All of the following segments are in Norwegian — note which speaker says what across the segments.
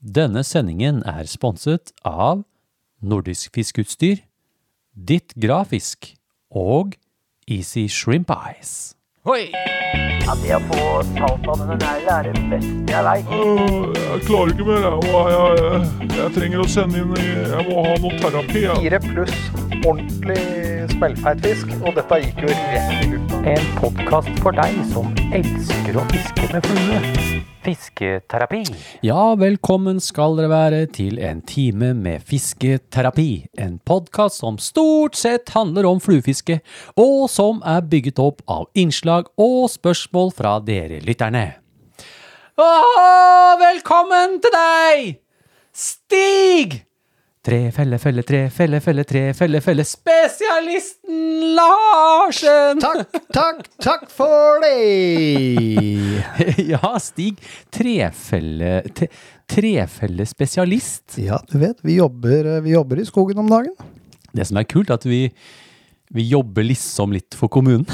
Speaker 1: Denne sendingen er sponset av Nordisk Fiskeutstyr, Ditt Grafisk og Easy Shrimp Eyes. Hoi!
Speaker 2: Ja, det å få talt av denne neglen er det beste jeg veit.
Speaker 3: Øh, Jeg klarer ikke mer. Jeg, må, jeg, jeg, jeg trenger å sende inn Jeg må ha noe terapi. Jeg.
Speaker 4: Fire pluss ordentlig smellfeit fisk, og dette gikk jo rett i lufta.
Speaker 2: En podkast for deg som elsker å fiske med flue. Fisketerapi.
Speaker 1: Ja, velkommen skal dere være til en time med fisketerapi. En podkast som stort sett handler om fluefiske, og som er bygget opp av innslag og spørsmål fra dere lytterne. Åh, velkommen til deg! Stig! Tre felle, felle, tre, felle, felle, tre, felle, felle, spesialisten Larsen!
Speaker 5: Takk, takk, takk for det!
Speaker 1: ja, Stig. Trefelle... Te, trefellespesialist.
Speaker 5: Ja, du vet, vi jobber, vi jobber i skogen om dagen.
Speaker 1: Det som er kult, er at vi, vi jobber liksom litt for kommunen.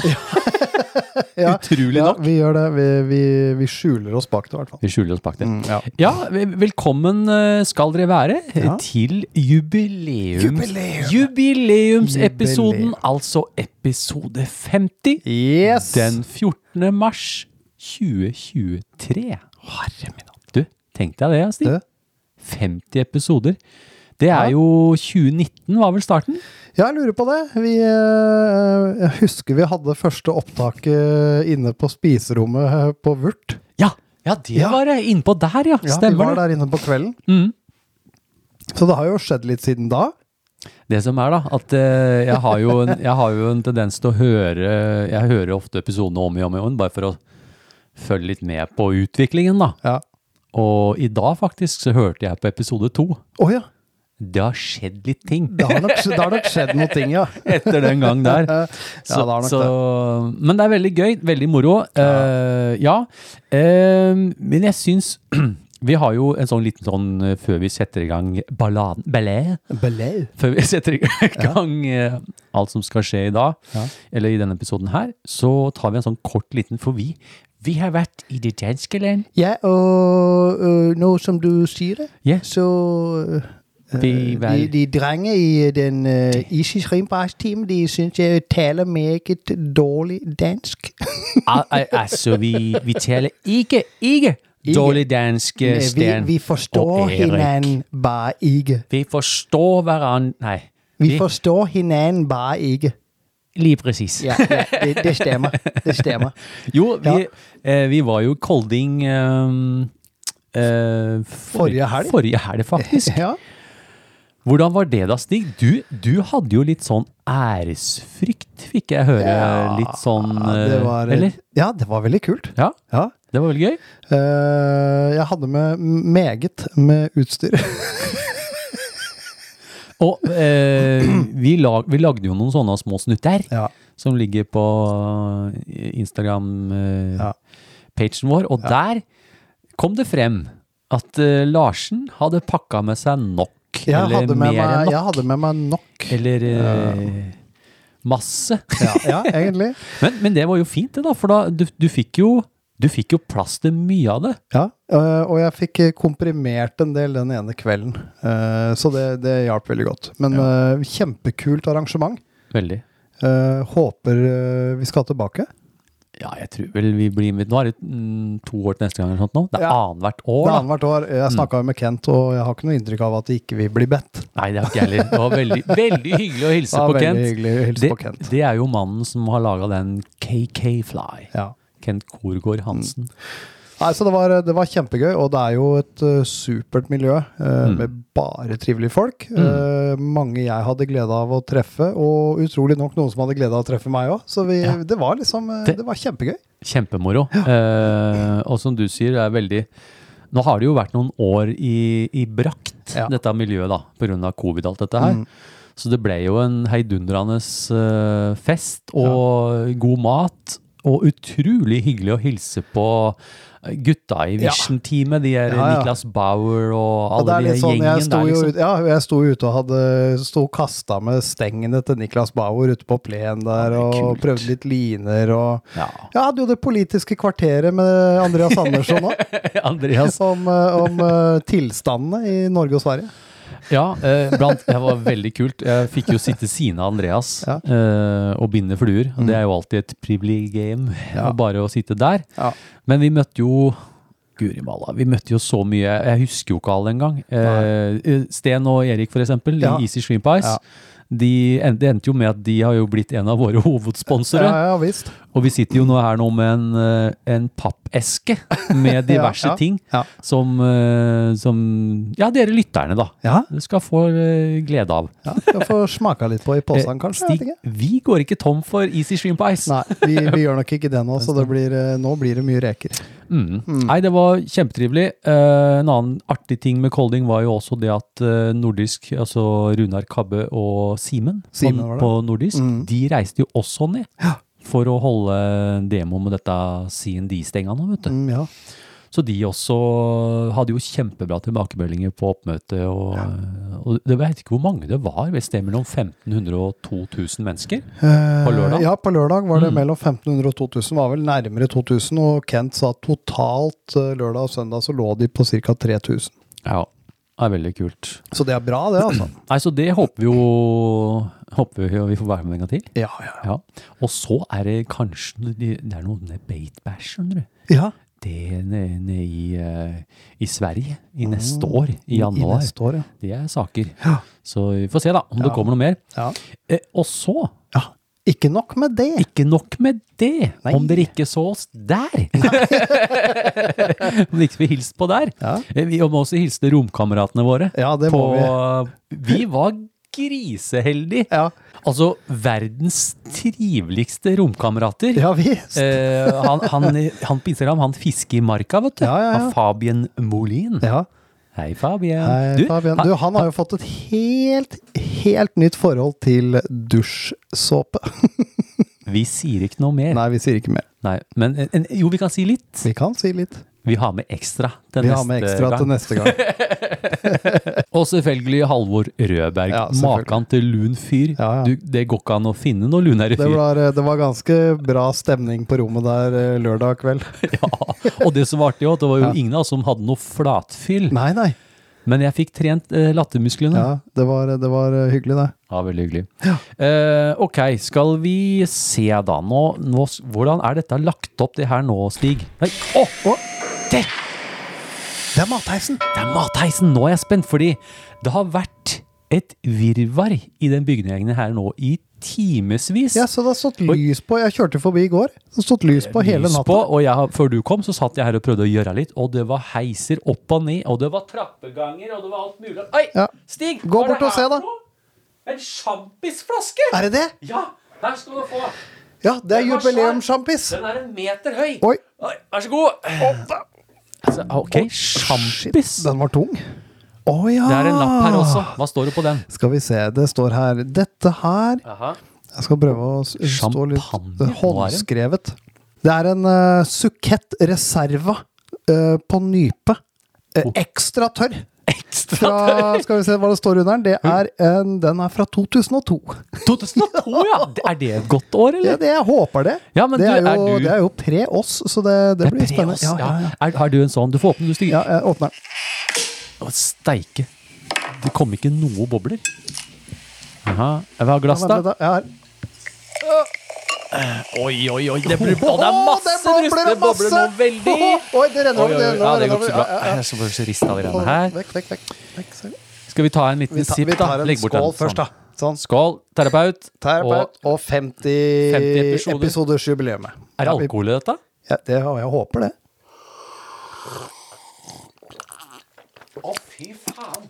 Speaker 5: Ja,
Speaker 1: Utrolig
Speaker 5: ja,
Speaker 1: nok.
Speaker 5: Vi gjør det. Vi, vi, vi skjuler oss bak det, i hvert fall.
Speaker 1: Vi skjuler oss bak det.
Speaker 5: Mm, ja.
Speaker 1: vel- velkommen eh, skal dere være
Speaker 5: Ja.
Speaker 1: til jubileums,
Speaker 5: Jubileum.
Speaker 1: jubileumsepisoden,
Speaker 5: Jubileum.
Speaker 1: altså episode 50,
Speaker 5: Yes!
Speaker 1: den 14. mars 2023. Herre min hatt. Du, tenk deg det, Stig.
Speaker 5: Du.
Speaker 1: 50 episoder. Det er
Speaker 5: Ja.
Speaker 1: jo 2019 var vel starten?
Speaker 5: Ja, jeg lurer på det. Vi, eh, jeg husker vi hadde første opptaket inne på spiserommet eh, på Vurt.
Speaker 1: Ja, ja det
Speaker 5: Ja.
Speaker 1: var det. Innpå der, ja.
Speaker 5: Ja, vi
Speaker 1: Stemmer
Speaker 5: var
Speaker 1: det.
Speaker 5: der inne på kvelden.
Speaker 1: Mm.
Speaker 5: Så det har jo skjedd litt siden da.
Speaker 1: Det som er, da, at eh, jeg har, jo en, jeg har jo en tendens til å høre Jeg hører ofte episodene om igjen og om igjen, bare for å følge litt med på utviklingen, da.
Speaker 5: Ja.
Speaker 1: Og i dag, faktisk, så hørte jeg på episode to.
Speaker 5: Å ja!
Speaker 1: Det har skjedd litt ting
Speaker 5: Det har nok, det har nok skjedd noen ting, ja. Eh,
Speaker 1: etter den gang der.
Speaker 5: Ja,
Speaker 1: Så,
Speaker 5: det har nok
Speaker 1: så,
Speaker 5: det.
Speaker 1: Men det er veldig gøy, veldig moro. Eh, ja. Eh, men jeg syns Vi har jo en sånn liten sånn eh, før vi setter i gang balladen Ballet.
Speaker 5: Belau.
Speaker 1: før vi setter i gang eh, alt som skal skje i dag, eller i denne episoden her, så tar vi en sånn kort liten For vi, vi har vært i det danske land.
Speaker 5: Ja, og øh, nå som du sier det,
Speaker 1: Ja.
Speaker 5: så øh,
Speaker 1: Vi
Speaker 5: øh,
Speaker 1: var-
Speaker 5: de, de drenge i den øh, Isis Rimbars-team, de syns jeg taler meget dårlig dansk.
Speaker 1: Al al- altså, vi, vi taler ikke, ikke dårlig dansk, eh,
Speaker 5: vi,
Speaker 1: Sten.
Speaker 5: vi forstår
Speaker 1: og Erik.
Speaker 5: hinanden bare ikke.
Speaker 1: Vi forstår hverandre Nei,
Speaker 5: Vi
Speaker 1: Vi-
Speaker 5: forstår hinanden bare ikke.
Speaker 1: lige presis.
Speaker 5: Ja, ja det, det stemmer. Det stemmer.
Speaker 1: Jo, vi,
Speaker 5: Ja.
Speaker 1: eh, vi var jo i Kolding ehm, eh,
Speaker 5: Forrige helg.
Speaker 1: Forrige helg, faktisk.
Speaker 5: Ja.
Speaker 1: Hvordan var det da, Stig? Du, du hadde jo litt sånn æresfrykt, fikk jeg høre. litt sånn
Speaker 5: Ja, det var,
Speaker 1: eh, Eller?
Speaker 5: ja, det var veldig kult.
Speaker 1: Ja,
Speaker 5: Ja.
Speaker 1: det var veldig gøy.
Speaker 5: Eh, jeg hadde med meget med utstyr.
Speaker 1: Og eh, vi, lag, vi lagde jo noen sånne små snutter
Speaker 5: ja.
Speaker 1: som ligger på eh, Instagram-pagen
Speaker 5: Ja.
Speaker 1: vår, og der kom det frem at eh, Larsen hadde pakka med seg nok.
Speaker 5: Jeg
Speaker 1: eller
Speaker 5: hadde,
Speaker 1: mer
Speaker 5: med
Speaker 1: enn
Speaker 5: meg,
Speaker 1: nok.
Speaker 5: jeg hadde med meg nok.
Speaker 1: Eller eh, masse.
Speaker 5: Ja, ja egentlig.
Speaker 1: Men, men det var jo fint, det, da. For da, du, du, fikk jo, du fikk jo plass til mye av det.
Speaker 5: Ja, øh, og jeg fikk eh, komprimert en del den ene kvelden, Eh, så det, det hjalp veldig godt. Men eh, kjempekult arrangement.
Speaker 1: Veldig.
Speaker 5: Eh, Håper eh, vi skal tilbake.
Speaker 1: Ja, jeg tror vel vi blir invitert. Nå er det mm, to år til neste gang eller sånt nå. Det er
Speaker 5: Ja.
Speaker 1: annethvert år,
Speaker 5: Det er
Speaker 1: da. Mm.
Speaker 5: annethvert år. Jeg snakka jo med Kent, og jeg har ikke noe inntrykk av at de ikke vil bli bedt.
Speaker 1: Nei, det har ikke jeg heller. Det var veldig, veldig hyggelig å hilse
Speaker 5: Det var
Speaker 1: på
Speaker 5: veldig
Speaker 1: Kent.
Speaker 5: hyggelig å hilse
Speaker 1: det,
Speaker 5: på Kent.
Speaker 1: det er jo mannen som har laga den KK Fly.
Speaker 5: Ja.
Speaker 1: Kent Korgård Hansen.
Speaker 5: Nei, så det var, det var kjempegøy, og det er jo et eh, supert miljø eh,
Speaker 1: Mm.
Speaker 5: med bare trivelige folk. Eh, mange jeg hadde glede av å treffe, og utrolig nok noen som hadde glede av å treffe meg òg. Så vi,
Speaker 1: Ja.
Speaker 5: det var liksom eh,
Speaker 1: Det-
Speaker 5: Det var kjempegøy.
Speaker 1: Kjempemoro. Eh, og som du sier, det er veldig Nå har det jo vært noen år i, i brakt,
Speaker 5: Ja. Mm.
Speaker 1: dette miljøet, da, pga. covid og alt dette her. Så det ble jo en heidundrende eh, fest og god mat og utrolig hyggelig å hilse på gutta i Vision-teamet. De er
Speaker 5: Ja, ja.
Speaker 1: Niklas Bauer og
Speaker 5: Ja,
Speaker 1: alle
Speaker 5: det er
Speaker 1: de
Speaker 5: litt sånn, jeg
Speaker 1: gjengen
Speaker 5: sto
Speaker 1: der,
Speaker 5: jo
Speaker 1: liksom.
Speaker 5: ut, ja, jeg sto jo ute og hadde sto og kasta med stengene til Niklas Bauer ute på plenen
Speaker 1: Ja, det
Speaker 5: der,
Speaker 1: er
Speaker 5: og
Speaker 1: kult.
Speaker 5: prøvde litt liner og
Speaker 1: Ja.
Speaker 5: Jeg hadde jo det politiske kvarteret med Andreas Andersson òg,
Speaker 1: Andreas.
Speaker 5: om, eh, om eh, tilstandene i Norge og Sverige.
Speaker 1: Ja, eh, blant, det var veldig kult. Jeg fikk jo sitte siden av Andreas
Speaker 5: Ja.
Speaker 1: eh, og binde fluer. Det er jo alltid et privilegium
Speaker 5: Ja.
Speaker 1: bare å sitte der.
Speaker 5: Ja.
Speaker 1: Men vi møtte jo Guri malla, vi møtte jo så mye. Jeg husker jo ikke alle engang. Eh, Sten og Erik, for eksempel,
Speaker 5: Ja.
Speaker 1: i Easy Stream Pies.
Speaker 5: Ja.
Speaker 1: De en- det endte jo med at de har jo blitt en av våre hovedsponsorer.
Speaker 5: Ja, ja visst.
Speaker 1: Og vi sitter jo nå her nå med en, eh, en pappeske med diverse
Speaker 5: ja,
Speaker 1: ting
Speaker 5: ja.
Speaker 1: Som, eh, som Ja, dere lytterne, da.
Speaker 5: Ja.
Speaker 1: Dere skal få eh, glede av.
Speaker 5: Ja, skal få smaka litt på i posen,
Speaker 1: Eh,
Speaker 5: kanskje.
Speaker 1: Stig,
Speaker 5: Jeg vet ikke.
Speaker 1: vi går ikke tom for Easy Stream Pies.
Speaker 5: Nei, vi, vi gjør nok ikke det nå, så det blir, eh, nå blir det mye reker.
Speaker 1: Mm. Nei, det var kjempetrivelig. Eh, en annen artig ting med Kolding var jo også det at eh, nordisk, altså Runar Kabbe og Simen, på,
Speaker 5: Simen var det. Mm.
Speaker 1: på nordisk, de reiste jo også ned. For å holde demo med dette CND-stenga nå, vet du.
Speaker 5: Mm, ja.
Speaker 1: Så de også hadde jo kjempebra tilbakemeldinger på oppmøtet. Og, og det- jeg vet ikke hvor mange det var, et sted mellom 1500 og 2000 mennesker. På lørdag? Mm.
Speaker 5: Eh, Ja, på lørdag var det mellom 1500 og 2000. Var vel nærmere 2000, og Kent sa totalt eh, lørdag og søndag så lå de på ca. 3000.
Speaker 1: Ja, det er veldig kult.
Speaker 5: Så det er bra, det, altså.
Speaker 1: Nei, så det håper vi jo håper vi jo vi får være med en gang til.
Speaker 5: Ja, ja.
Speaker 1: Ja. Og så er det kanskje Det er noe med Baitbæsj, skjønner du.
Speaker 5: ja.
Speaker 1: Det er nede i, eh, i Sverige i neste år, Mm. i
Speaker 5: I
Speaker 1: januar.
Speaker 5: neste år, ja.
Speaker 1: Det er saker.
Speaker 5: Ja.
Speaker 1: Så vi får se da, om det
Speaker 5: Ja.
Speaker 1: kommer noe mer.
Speaker 5: Ja.
Speaker 1: Eh, og så
Speaker 5: ja. Ikke nok med det.
Speaker 1: Ikke nok med det,
Speaker 5: Nei.
Speaker 1: om dere ikke så oss der! om dere ikke vil hilse på der.
Speaker 5: Ja.
Speaker 1: Eh, Vi må også hilse til romkameratene våre.
Speaker 5: Ja, det
Speaker 1: på,
Speaker 5: må
Speaker 1: vi. var griseheldige!
Speaker 5: Ja,
Speaker 1: Altså, verdens triveligste romkamerater.
Speaker 5: ja visst.
Speaker 1: Eh, han, han, han på Instagram, han fisker i marka, vet du.
Speaker 5: Ja, ja, ja.
Speaker 1: Han Fabian Molin.
Speaker 5: Ja.
Speaker 1: Hei, Fabian.
Speaker 5: Hei,
Speaker 1: Du,
Speaker 5: Fabian. Du, han har jo fått et helt, helt nytt forhold til dusjsåpe.
Speaker 1: Vi sier ikke noe mer. Nei.
Speaker 5: Nei, vi sier ikke mer.
Speaker 1: men en- en, jo, vi kan si litt.
Speaker 5: Vi kan si litt.
Speaker 1: Vi har med ekstra til
Speaker 5: Vi
Speaker 1: neste
Speaker 5: har med ekstra
Speaker 1: gang.
Speaker 5: til neste gang.
Speaker 1: Og selvfølgelig Halvor Rødberg.
Speaker 5: Ja, selvfølgelig.
Speaker 1: Makan til lun fyr.
Speaker 5: Ja, ja.
Speaker 1: Du, det går ikke an å finne noen lunere
Speaker 5: Det
Speaker 1: fyr.
Speaker 5: var, eh, det var ganske bra stemning på rommet der eh, lørdag kveld.
Speaker 1: ja. Og det som var artig, var at det var jo ingen av oss som hadde noe flatfyll.
Speaker 5: Nei, nei.
Speaker 1: Men jeg fikk trent eh, lattermusklene. Ja.
Speaker 5: Ja, det var, det var eh, hyggelig, det.
Speaker 1: veldig hyggelig. Eh, ok, skal vi se da nå, nå s- Hvordan er dette lagt opp, det her nå, Stig? Nei, å, å, det,
Speaker 5: Det er Matheisen!
Speaker 1: det er matheisen! Nå er jeg spent, fordi det har vært et virvar i den bygningen her nå i timevis.
Speaker 5: Ja, så det har stått lys på. Jeg kjørte forbi i går. Det har stått lys på hele
Speaker 1: Eh, lys
Speaker 5: natta.
Speaker 1: på, og jeg, har- før du kom, så satt jeg her og prøvde å gjøre litt, og det var heiser opp og ned, og det var trappeganger, og det var alt mulig. Oi,
Speaker 5: Ja.
Speaker 1: Stig! hva
Speaker 5: Gå
Speaker 1: er
Speaker 5: bort og
Speaker 1: det her
Speaker 5: se, da.
Speaker 1: for noe? En sjampisflaske!
Speaker 5: Er det det?
Speaker 1: Ja, her skal du få.
Speaker 5: Ja,
Speaker 1: Den
Speaker 5: det er
Speaker 1: var svær.
Speaker 5: jubileumssjampis!
Speaker 1: Den er en meter høy.
Speaker 5: Oi.
Speaker 1: vær så god. Altså, ok, sjampis.
Speaker 5: Den var tung. Å ja!
Speaker 1: Det er en lapp her også. Hva står det på den?
Speaker 5: Skal vi se, det står her Dette her Jeg skal prøve å s- stå litt
Speaker 1: Champagne?
Speaker 5: det er håndskrevet. Det er en uh, Suquette Reserva eh, på nype. Eh,
Speaker 1: Oh.
Speaker 5: Ekstra tørr. Fra, skal vi se hva det står under den. Det er en, den er fra 2002.
Speaker 1: 2002, ja! Er det et godt år, eller?
Speaker 5: Ja, det, jeg håper det.
Speaker 1: Ja, men
Speaker 5: det,
Speaker 1: du,
Speaker 5: er jo,
Speaker 1: er du-
Speaker 5: det er jo pre oss, så det, det,
Speaker 1: Det er
Speaker 5: blir
Speaker 1: pre
Speaker 5: spennende.
Speaker 1: oss,
Speaker 5: Ja, ja,
Speaker 1: ja.
Speaker 5: ja.
Speaker 1: Er, har du en sånn? Du får åpne, du, Stig.
Speaker 5: ja, jeg åpner den.
Speaker 1: Å, steike. Det kom ikke noe bobler. Aha. Jeg vil ha glass, da.
Speaker 5: Ja, her.
Speaker 1: Oi, oi, oi. Det, blir, og det er
Speaker 5: Å,
Speaker 1: masse brus. Det
Speaker 5: og
Speaker 1: bobler noe
Speaker 5: masse.
Speaker 1: veldig. Oi,
Speaker 5: Oi, det renner
Speaker 1: oi,
Speaker 5: over.
Speaker 1: oi.
Speaker 5: renner
Speaker 1: Ja,
Speaker 5: over,
Speaker 1: det går ikke
Speaker 5: renner
Speaker 1: så
Speaker 5: over.
Speaker 1: bra.
Speaker 5: Ja, ja, ja.
Speaker 1: Jeg skal bare riste av de greiene her.
Speaker 5: Vekk, vekk, vekk. vekk. sorry.
Speaker 1: Skal vi ta en
Speaker 5: Vi
Speaker 1: liten
Speaker 5: tar,
Speaker 1: sipp,
Speaker 5: vi
Speaker 1: da?
Speaker 5: tar en
Speaker 1: Legg bort den.
Speaker 5: skål først, da. Sånn.
Speaker 1: Skål. Terapeut.
Speaker 5: Terapeut og, 50,
Speaker 1: 50 episoder.
Speaker 5: episoders jubileumet.
Speaker 1: Og er det alkohol i dette?
Speaker 5: Ja, det, har- jeg håper det.
Speaker 1: Å, fy faen.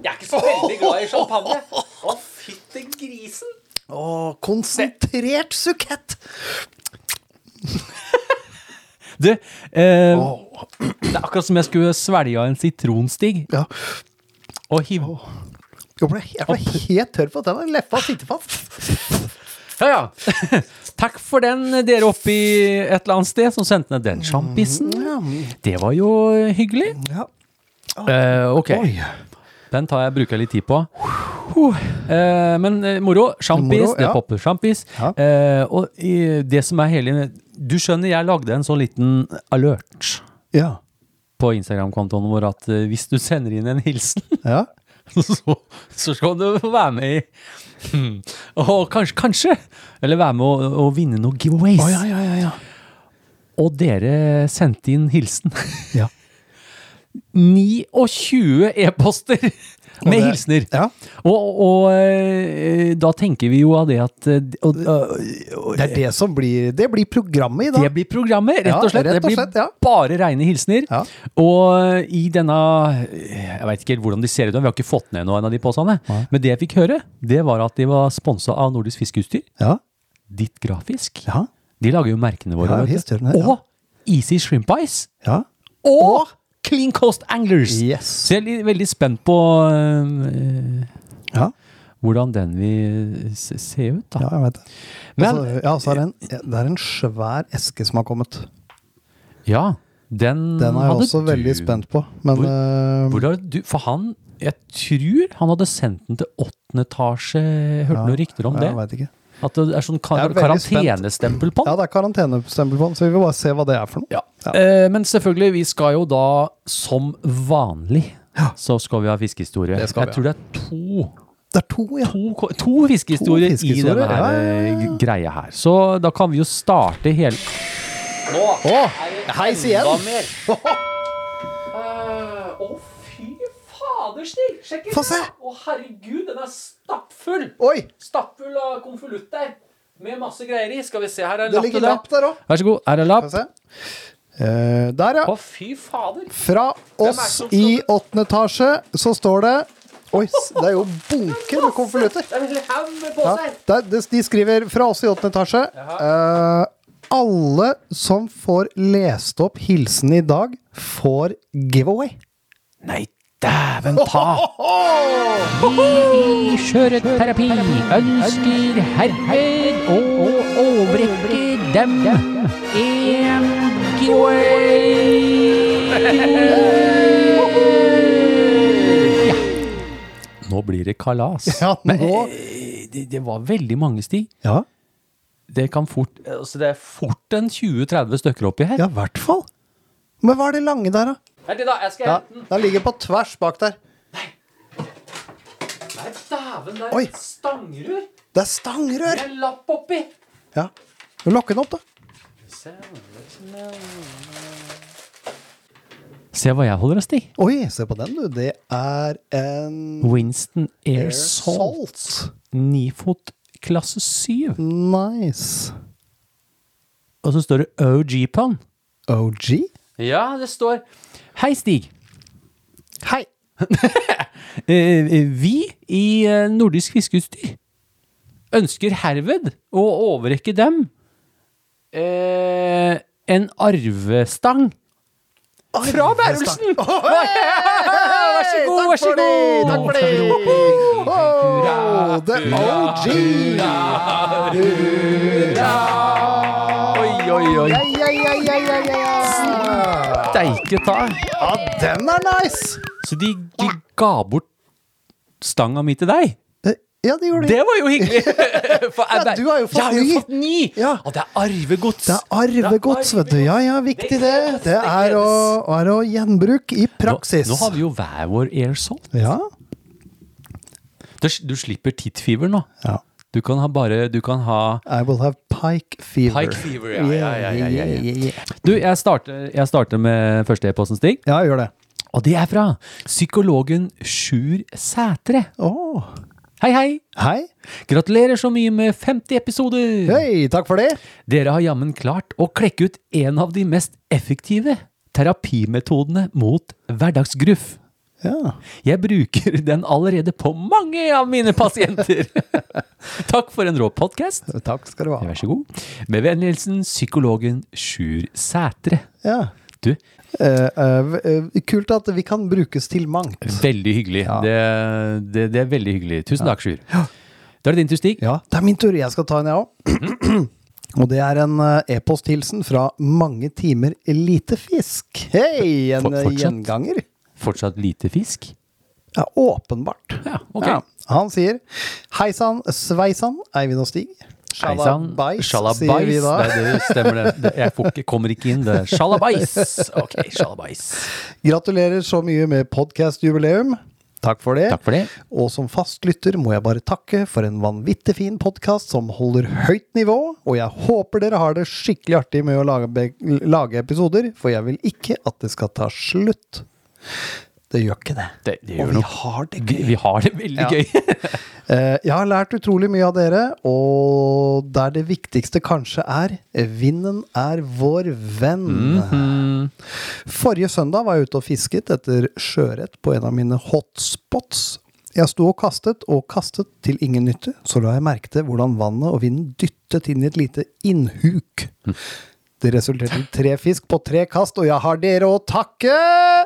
Speaker 1: Jeg er ikke så veldig glad i champagne. Å, fytti grisen.
Speaker 5: Å, konsentrert sukett!
Speaker 1: Du, eh, det er akkurat som jeg skulle svelge en sitronstig
Speaker 5: Ja.
Speaker 1: og hive
Speaker 5: Jeg ble, jeg ble helt tørr på at den leffa sitter fast.
Speaker 1: Ja, ja. Takk for den, dere oppe i et eller annet sted som sendte ned den sjampisen.
Speaker 5: Mm,
Speaker 1: Det var jo hyggelig.
Speaker 5: Ah, Ja.
Speaker 1: Eh, ok, den tar jeg, bruker jeg litt tid på. Eh, men eh, moro. Sjampis,
Speaker 5: Moro,
Speaker 1: det
Speaker 5: ja.
Speaker 1: popper sjampis.
Speaker 5: Ja.
Speaker 1: Eh, og i, det som er hele Du skjønner, jeg lagde en sånn liten alert
Speaker 5: Ja.
Speaker 1: på Instagram-kontoen vår at eh, hvis du sender inn en hilsen
Speaker 5: ja.
Speaker 1: så, så skal du få være med i Hmm. Og kanskje, kanskje Eller være med å, å vinne noen giveaways.
Speaker 5: ja, ja, ja, ja.
Speaker 1: Og dere sendte inn hilsen.
Speaker 5: Ja.
Speaker 1: 29 e-poster med
Speaker 5: det-
Speaker 1: hilsener.
Speaker 5: ja.
Speaker 1: Og, og eh, da tenker vi jo av det at eh, og, og,
Speaker 5: Det er det som blir Det blir programmet i dag.
Speaker 1: det blir programmet, rett
Speaker 5: Ja,
Speaker 1: og slett.
Speaker 5: rett og
Speaker 1: det
Speaker 5: slett,
Speaker 1: blir
Speaker 5: ja.
Speaker 1: bare reine hilsener.
Speaker 5: Ja.
Speaker 1: Og eh, i denne eh, Jeg veit ikke helt hvordan de ser ut, vi har ikke fått ned noen av de posene.
Speaker 5: Nei.
Speaker 1: Men det jeg fikk høre, det var at de var sponsa av Nordisk Fiskeutstyr.
Speaker 5: Ja.
Speaker 1: Ditt Grafisk.
Speaker 5: Ja.
Speaker 1: De lager jo merkene våre.
Speaker 5: Ja,
Speaker 1: vet du.
Speaker 5: visst gjør de det, ja.
Speaker 1: Og Easy Shrimp Ice.
Speaker 5: ja.
Speaker 1: Og Clean Coast Anglers.
Speaker 5: Yes.
Speaker 1: Så jeg er litt- veldig spent på øh, øh,
Speaker 5: Ja.
Speaker 1: hvordan den vil se se ut, da.
Speaker 5: ja, jeg vet det.
Speaker 1: Men-
Speaker 5: Altså, ja, så er det, en, det er en svær eske som har kommet.
Speaker 1: Ja, den,
Speaker 5: Den er jeg
Speaker 1: hadde
Speaker 5: også veldig
Speaker 1: du-
Speaker 5: spent på. Men
Speaker 1: Hvor-
Speaker 5: eh,
Speaker 1: Hvor har du, for han, jeg tror han hadde sendt den til åttende etasje, jeg hørte noen rykter om det.
Speaker 5: Jeg vet ikke.
Speaker 1: At det er sånn kar
Speaker 5: Jeg er veldig spent.
Speaker 1: karantenestempel på
Speaker 5: Ja,
Speaker 1: den.
Speaker 5: det er karantenestempel på den, så vi vil bare se hva det er for noe.
Speaker 1: Ja. Eh, men selvfølgelig, vi skal jo da som vanlig, så skal vi ha fiskehistorie.
Speaker 5: Det skal vi
Speaker 1: jeg tror det er to,
Speaker 5: Det er to, ja.
Speaker 1: to, ko- to fiskehistorier
Speaker 5: To
Speaker 1: i
Speaker 5: fiskehistorier,
Speaker 1: denne her,
Speaker 5: ja, ja,
Speaker 1: eh, greia her. Så da kan vi jo starte hele
Speaker 5: Å, heis igjen!
Speaker 1: Eh, Å, fy fader, Stig! Sjekk
Speaker 5: Få se.
Speaker 1: Å, herregud, den er stappfull!
Speaker 5: Oi,
Speaker 1: Stappfull av konvolutt der, med masse greier i. Skal vi se, her er en
Speaker 5: det
Speaker 1: lapp til
Speaker 5: ligger lapp
Speaker 1: deg.
Speaker 5: der òg.
Speaker 1: Vær så god, her er lapp.
Speaker 5: Eh, der, ja.
Speaker 1: Å, fy fader.
Speaker 5: Fra oss i åttende etasje så står det Oi, s- det er jo bunker med konvolutter.
Speaker 1: Det er en hel haug med
Speaker 5: Ja,
Speaker 1: poser.
Speaker 5: der, de, de skriver fra oss i åttende etasje eh, Alle som får lest opp hilsen i dag, får giveaway.
Speaker 1: Nei, dæven ta! Vi kjører terapi, ønsker herved å overrekke dem en giveaway. Nå blir det kalas.
Speaker 5: Ja, nå,
Speaker 1: Eh, Det, det var veldig mange, Stig.
Speaker 5: ja,
Speaker 1: Det, kan fort, altså det er fort en 20-30 stykker oppi her.
Speaker 5: ja, i hvert fall. Men hva er det lange der, da?
Speaker 1: Vent litt, da. Jeg skal
Speaker 5: Ja,
Speaker 1: hente den.
Speaker 5: den ligger på tvers bak der.
Speaker 1: Nei, dæven, det er
Speaker 5: Oi.
Speaker 1: et stangrør.
Speaker 5: Det er stangrør!
Speaker 1: Det er en lapp oppi.
Speaker 5: Ja. Lokk den opp, da.
Speaker 1: Se hva jeg holder av, Stig.
Speaker 5: Oi, se på den, du. Det er en
Speaker 1: Winston Air,
Speaker 5: Air
Speaker 1: Salt. Nifot klasse 7.
Speaker 5: Nice.
Speaker 1: Og så står det OG på den.
Speaker 5: OG?
Speaker 1: Ja, det står Hei, Stig.
Speaker 5: Hei.
Speaker 1: Eh, eh, Vi i eh, Nordisk Fiskeutstyr ønsker herved å overrekke dem eh, en arvestang fra Værelsen! Vær så god, vær så god!
Speaker 5: Takk for det! Oh, the OG!
Speaker 1: Oi, oi, oi.
Speaker 5: Ja, ja, ja, ja, ja, ja.
Speaker 1: Steike ta.
Speaker 5: ja, den er nice!
Speaker 1: Så de, de ga bort stanga mi til deg?
Speaker 5: Eh, Ja, det gjorde de.
Speaker 1: Det var jo hyggelig! For jeg,
Speaker 5: Ja, du har jo fått
Speaker 1: jeg har
Speaker 5: ny.
Speaker 1: jo fått ny!
Speaker 5: Ja.
Speaker 1: Og det er arvegods.
Speaker 5: Det er arvegods, vet du. Ja, ja, viktig det. Det er å, er å gjenbruk i praksis.
Speaker 1: Nå, nå har vi jo hver vår air salt.
Speaker 5: Ja.
Speaker 1: Du, du slipper tittfever nå.
Speaker 5: ja.
Speaker 1: Du kan ha bare Du kan ha
Speaker 5: I will have pike fever.
Speaker 1: Pike fever, ja, ja, ja, ja, ja, ja.
Speaker 5: Yeah, yeah, yeah.
Speaker 1: Du, jeg starter, jeg starter med første e-posten, Stig.
Speaker 5: Ja, gjør det.
Speaker 1: Og det er fra psykologen Sjur Sætre.
Speaker 5: Åh.
Speaker 1: Hei, hei!
Speaker 5: Hei.
Speaker 1: Gratulerer så mye med 50 episoder!
Speaker 5: Hei, takk for det.
Speaker 1: Dere har jammen klart å klekke ut en av de mest effektive terapimetodene mot hverdagsgruff.
Speaker 5: Ja.
Speaker 1: Jeg bruker den allerede på mange av mine pasienter. Takk for en rå podkast.
Speaker 5: Takk skal du ha.
Speaker 1: Vær så god. Med vennlig hilsen psykologen Sjur Sætre.
Speaker 5: Ja.
Speaker 1: Du,
Speaker 5: Eh, eh, v- eh, kult at vi kan brukes til mangt.
Speaker 1: veldig hyggelig. Det, det, det er veldig hyggelig. Tusen takk, Sjur. Da er det din tur, Stig.
Speaker 5: Ja, det er min tur. Jeg skal ta en, jeg òg. Og det er en eh, e-posthilsen fra Mange timer elitefisk. Hei, en
Speaker 1: For-
Speaker 5: eh,
Speaker 1: fortsatt?
Speaker 5: gjenganger.
Speaker 1: Fortsatt lite fisk?
Speaker 5: Ja, åpenbart.
Speaker 1: Ja, ok.
Speaker 5: han sier Hei sann, sveisann, Eivind og Stig. Sjalabais, sier vi da.
Speaker 1: Nei, det stemmer det. det. Jeg får ikke, kommer ikke inn, det. Sjalabais! Ok, sjalabais.
Speaker 5: Gratulerer så mye med podkastjubileum. Takk for det.
Speaker 1: Takk for det.
Speaker 5: Og som fast lytter må jeg bare takke for en vanvittig fin podkast som holder høyt nivå, og jeg håper dere har det skikkelig artig med å lage, be- lage episoder, for jeg vil ikke at det skal ta slutt. Det gjør ikke det.
Speaker 1: Det, det
Speaker 5: og
Speaker 1: gjør
Speaker 5: vi
Speaker 1: noe.
Speaker 5: har det
Speaker 1: Vi,
Speaker 5: gøy.
Speaker 1: vi har det veldig
Speaker 5: Ja.
Speaker 1: gøy.
Speaker 5: Eh, Jeg har lært utrolig mye av dere, og der det viktigste kanskje er Vinden er vår venn. Forrige søndag var jeg ute og fisket etter sjøørret på en av mine hotspots. Jeg sto og kastet og kastet til ingen nytte, så la jeg merke til hvordan vannet og vinden dyttet inn i et lite innhuk. Det resulterte i tre fisk på tre kast, og jeg har dere å takke!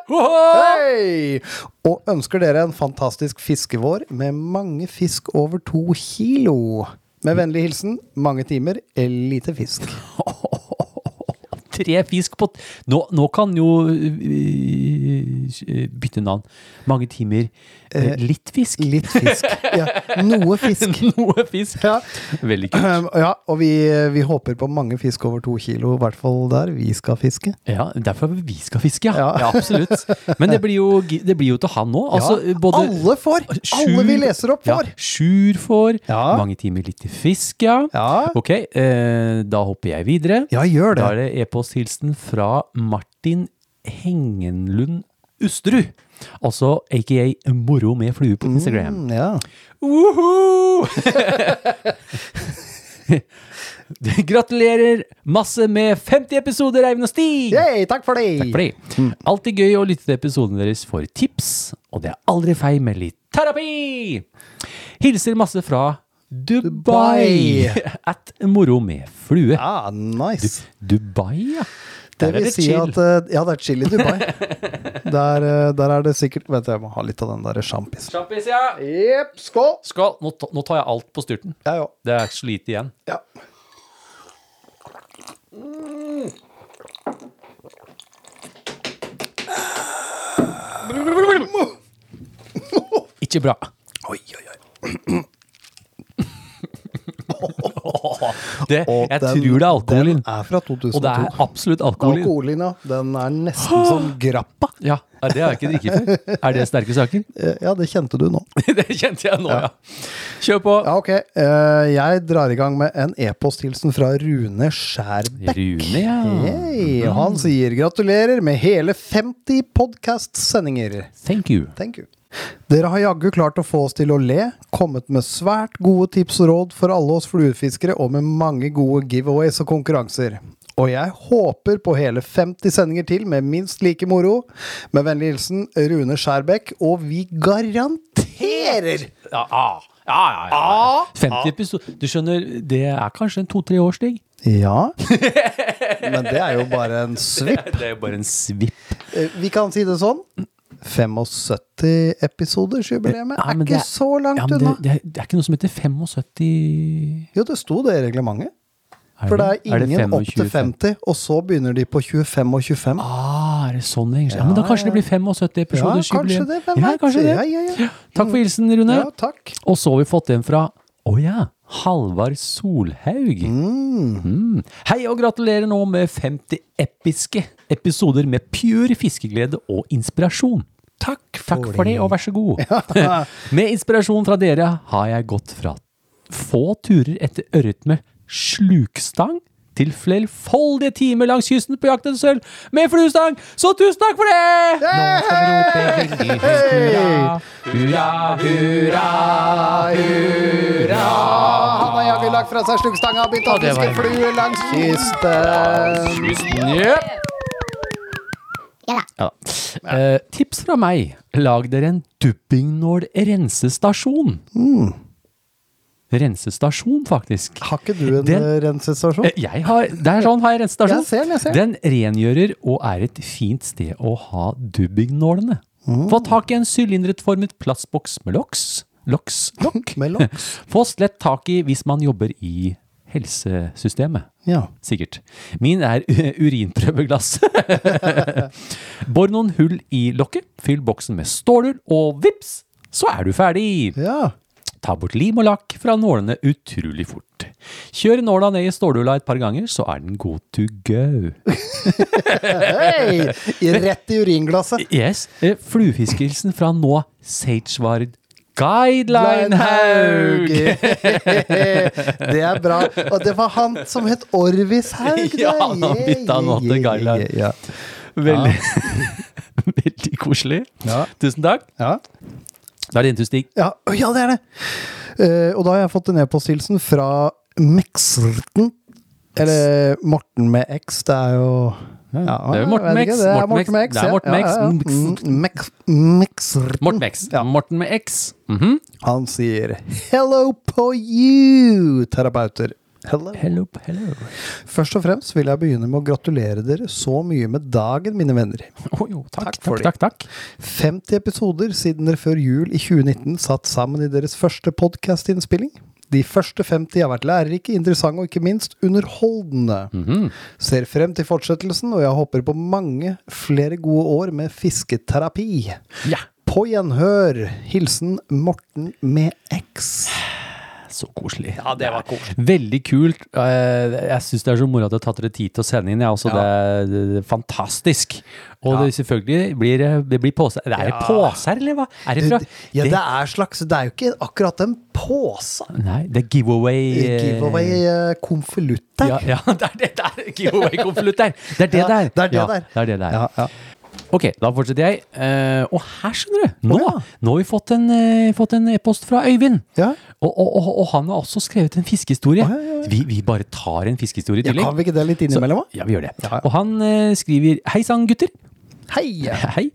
Speaker 5: Hei! Og ønsker dere en fantastisk fiskevår med mange fisk over to kilo. Med vennlig hilsen mange timer, lite fisk.
Speaker 1: Tre fisk på t- Nå, nå kan jo øh, øh, bytte navn. Mange timer. øh, Litt fisk.
Speaker 5: Eh, Litt fisk. Ja, noe fisk.
Speaker 1: Noe fisk.
Speaker 5: Ja.
Speaker 1: Veldig kult.
Speaker 5: Um, ja, og vi, vi håper på mange fisk over to kilo, i hvert fall der vi skal fiske.
Speaker 1: Ja, derfor vi skal fiske, ja. ja.
Speaker 5: Ja.
Speaker 1: absolutt. Men det blir jo, det blir jo til han òg. Altså,
Speaker 5: ja,
Speaker 1: både
Speaker 5: alle får! Alle vi leser opp, får!
Speaker 1: Ja, Sjur får.
Speaker 5: Ja.
Speaker 1: Mange timer litt til fisk, ja.
Speaker 5: Ja.
Speaker 1: Ok, eh, da hopper jeg videre.
Speaker 5: Ja, gjør det.
Speaker 1: Da er det e-posthilsen fra Martin Hengenlund Usterud. Altså aka Moro med flue på Instagram.
Speaker 5: Mm, ja.
Speaker 1: Woho! Gratulerer masse med 50 episoder, Eivind og Stig!
Speaker 5: Yay, takk for det!
Speaker 1: Takk for
Speaker 5: Mm.
Speaker 1: det. Alltid gøy å lytte til episoden deres for tips, og det er aldri feil med litt terapi! Hilser masse fra Dubai! At moro med flue.
Speaker 5: Ah, nice.
Speaker 1: Dubai, ja. Der
Speaker 5: Det
Speaker 1: er
Speaker 5: vil
Speaker 1: det
Speaker 5: si
Speaker 1: chill.
Speaker 5: at eh, Ja, det er chill i Dubai. der, eh, der er det sikkert Vent, jeg må ha litt av den derre sjampisen.
Speaker 1: Sjampis, ja.
Speaker 5: Jepp, skål!
Speaker 1: Skål. Nå, ta- nå tar jeg alt på styrten.
Speaker 5: Ja, jo.
Speaker 1: Det er ikke så lite igjen.
Speaker 5: Ja.
Speaker 1: Ikke bra.
Speaker 5: Oi, oi, oi.
Speaker 1: Det,
Speaker 5: Og
Speaker 1: jeg
Speaker 5: den-
Speaker 1: tror det er alkoholen.
Speaker 5: Den er fra 2002.
Speaker 1: Og det er absolutt alkoholen.
Speaker 5: Alkoholen, ja. Den er nesten som grappa.
Speaker 1: Ja, det har jeg ikke drikket før. Er det sterke saker?
Speaker 5: Eh, Ja, det kjente du nå.
Speaker 1: Det kjente jeg nå, ja. Kjør på.
Speaker 5: Ja, ok. Eh, Jeg drar i gang med en e-posthilsen fra Rune Skjærbekk.
Speaker 1: Rune, ja. Mm.
Speaker 5: Hei, og han sier gratulerer med hele 50 podkast-sendinger.
Speaker 1: Thank you.
Speaker 5: Thank you. Dere har jaggu klart å få oss til å le, kommet med svært gode tips og råd for alle oss fluefiskere, og med mange gode giveaways og konkurranser. Og jeg håper på hele 50 sendinger til med minst like moro. Med vennlig hilsen Rune Skjærbekk, og vi garanterer
Speaker 1: Ja, ja, ja. ja, ja. 50 episoder. Du skjønner, det er kanskje en to-tre års stig.
Speaker 5: Ja. Men det er jo bare en svipp.
Speaker 1: Det er jo bare en svipp.
Speaker 5: Eh, Vi kan si det sånn. 75-episodersjubileet
Speaker 1: Ja,
Speaker 5: er
Speaker 1: men
Speaker 5: ikke
Speaker 1: det er-
Speaker 5: så langt
Speaker 1: Ja, men det,
Speaker 5: unna.
Speaker 1: det, er, det er ikke noe som heter 75
Speaker 5: Jo, det sto det i reglementet. For det er
Speaker 1: det
Speaker 5: ingen opp
Speaker 1: 25?
Speaker 5: til 50, og så begynner de på 25 og 25.
Speaker 1: Ah, er det sånn det henger sammen? Ja, men da kanskje det blir 75 episoder.
Speaker 5: Ja, kanskje
Speaker 1: jubileum.
Speaker 5: det, hvem
Speaker 1: ja,
Speaker 5: vet?
Speaker 1: kanskje det.
Speaker 5: Ja, ja, ja.
Speaker 1: Takk for hilsen, Rune.
Speaker 5: Ja, takk.
Speaker 1: Og så har vi fått en fra Å ja, Halvard Solhaug. Mm. Hei og gratulerer nå med 50 episke episoder med pure fiskeglede og inspirasjon. Takk, Takk for det, og vær så god. med inspirasjon fra dere har jeg gått fra få turer etter ørret med slukstang til flerfoldige timer langs kysten på jakt etter sølv med fluestang, så tusen takk for det! Nå skal vi rope veldig høyt hurra, hurra, hurra.
Speaker 5: Han har jaggu lagt fra seg sluggstanga og begynt å
Speaker 1: Ja, Ah, det var-
Speaker 5: fiske flue langs kysten.
Speaker 1: Ja. Eh, tips fra meg. Lag dere en dubbingnål-rensestasjon.
Speaker 5: Mm.
Speaker 1: Rensestasjon, faktisk.
Speaker 5: Har ikke du en
Speaker 1: Den-
Speaker 5: eh, rensestasjon?
Speaker 1: Eh, Jeg har, der sånn har jeg rensestasjon.
Speaker 5: Jeg ser den, jeg ser
Speaker 1: den rengjører og er et fint
Speaker 5: Mm.
Speaker 1: sted å ha dubbingnålene. Få tak i en sylindretformet plastboks med loks. Loks.
Speaker 5: Lokk med lokk.
Speaker 1: Fås lett tak i hvis man jobber i helsesystemet.
Speaker 5: Ja.
Speaker 1: Sikkert. Min er u- urinprøveglass. Bor noen hull i lokket, fyll boksen med stålull, og vips, så er du ferdig!
Speaker 5: ja.
Speaker 1: Ta bort lim og lakk fra nålene utrolig fort. Kjør nåla ned i stålulla et par ganger, så er den god to go.
Speaker 5: Hei! I- Rett i uringlasset.
Speaker 1: Yes, eh, Fluefiskehilsen fra nå Sagebard Guidelinehaug!
Speaker 5: det er bra. Og det var han som het Orvis Haug. det.
Speaker 1: Ja, han
Speaker 5: Yeah,
Speaker 1: bytta nå til
Speaker 5: yeah,
Speaker 1: Guideline.
Speaker 5: yeah, yeah.
Speaker 1: Veldig, veldig koselig.
Speaker 5: Ja.
Speaker 1: Tusen takk.
Speaker 5: Ja.
Speaker 1: Da er det din tur, Stig.
Speaker 5: Ja, å, ja, det er det! Eh, og da har jeg fått en e-posthilsen fra Mexerten. Eller Morten med X, det er jo ja,
Speaker 1: det er jo
Speaker 5: jeg
Speaker 1: Morten
Speaker 5: vet
Speaker 1: med
Speaker 5: ikke,
Speaker 1: X.
Speaker 5: Det
Speaker 1: Morten
Speaker 5: er Morten med X.
Speaker 1: Det er
Speaker 5: ja,
Speaker 1: Morten med X.
Speaker 5: ja, ja. Mm, Mex- Mexerten.
Speaker 1: Morten med X.
Speaker 5: Mm, Ja.
Speaker 1: Morten med X. Mhm.
Speaker 5: Han sier 'hello på you', terapeuter. Hello.
Speaker 1: Hello, hello.
Speaker 5: Først og fremst vil jeg begynne med å gratulere dere så mye med dagen, mine venner.
Speaker 1: Å jo, takk,
Speaker 5: Takk for
Speaker 1: takk, takk, takk.
Speaker 5: 50 episoder siden dere før jul i 2019 satt sammen i deres første podkastinnspilling. De første 50 har vært lærerike, interessante og ikke minst underholdende.
Speaker 1: Mhm.
Speaker 5: Ser frem til fortsettelsen, og jeg håper på mange flere gode år med fisketerapi.
Speaker 1: Ja.
Speaker 5: På gjenhør! Hilsen Morten med X.
Speaker 1: Så koselig.
Speaker 4: Ja, det var koselig.
Speaker 1: Veldig kult. Eh, Jeg syns det er så moro at det har tatt dere tid til å sende inn. Jeg også, det, er, det er fantastisk. Og det, selvfølgelig blir det- det blir påse. Det er påser, eller hva? Er det
Speaker 5: Du,
Speaker 1: fra
Speaker 5: ja, det er slags Det er jo ikke akkurat en påse.
Speaker 1: Nei, det er giveaway. eh,
Speaker 5: Giveaway eh, konvolutt der.
Speaker 1: Ja, ja, det er det der! Giveaway-konvolutt der. Det er det
Speaker 5: Ja,
Speaker 1: der.
Speaker 5: det er det
Speaker 1: ja,
Speaker 5: der.
Speaker 1: Det er det der.
Speaker 5: Ja, ja.
Speaker 1: Ok, da fortsetter jeg. Eh, og her, skjønner du, nå,
Speaker 5: Å, ja.
Speaker 1: nå har vi fått en, eh, fått en e-post fra Øyvind.
Speaker 5: Ja.
Speaker 1: Og, og, og, og han har også skrevet en fiskehistorie. Vi, vi bare tar en fiskehistorie i
Speaker 5: Ja,
Speaker 1: tillegg.
Speaker 5: kan vi ikke det litt innimellom, da?
Speaker 1: Ja, vi gjør det.
Speaker 5: Ja, ja.
Speaker 1: Og han eh, skriver Hei sann, gutter.
Speaker 5: Hei!
Speaker 1: Hei.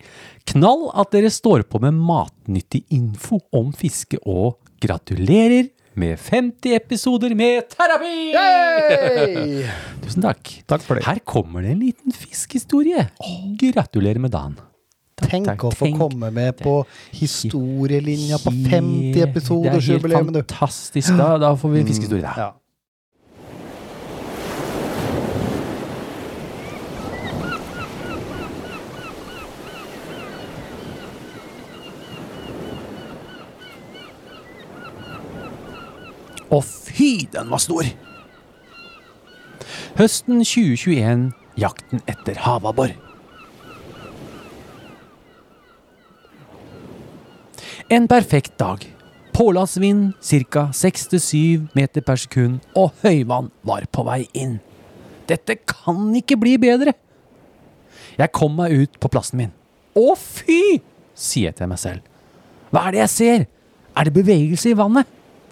Speaker 1: Knall at dere står på med matnyttig info om fiske, og gratulerer med 50 episoder med terapi!
Speaker 5: Hey!
Speaker 1: Tusen takk.
Speaker 5: Takk for det.
Speaker 1: Her kommer det en liten fiskehistorie. Gratulerer med dagen.
Speaker 5: Tenk
Speaker 1: Takk,
Speaker 5: å få
Speaker 1: tenk.
Speaker 5: komme med på historielinja på 50
Speaker 1: Det er
Speaker 5: episodersjubileet,
Speaker 1: helt
Speaker 5: du.
Speaker 1: fantastisk. Da, da får vi en fiskehistorie. da.
Speaker 5: Ja.
Speaker 1: Å fy, den var stor! Høsten 2021, jakten etter havabbor. En perfekt dag. Pålandsvind ca. 6-7 meter per sekund, og høyvann var på vei inn. Dette kan ikke bli bedre! Jeg kom meg ut på plassen min. Å fy! sier jeg til meg selv. Hva er det jeg ser? Er det bevegelse i vannet?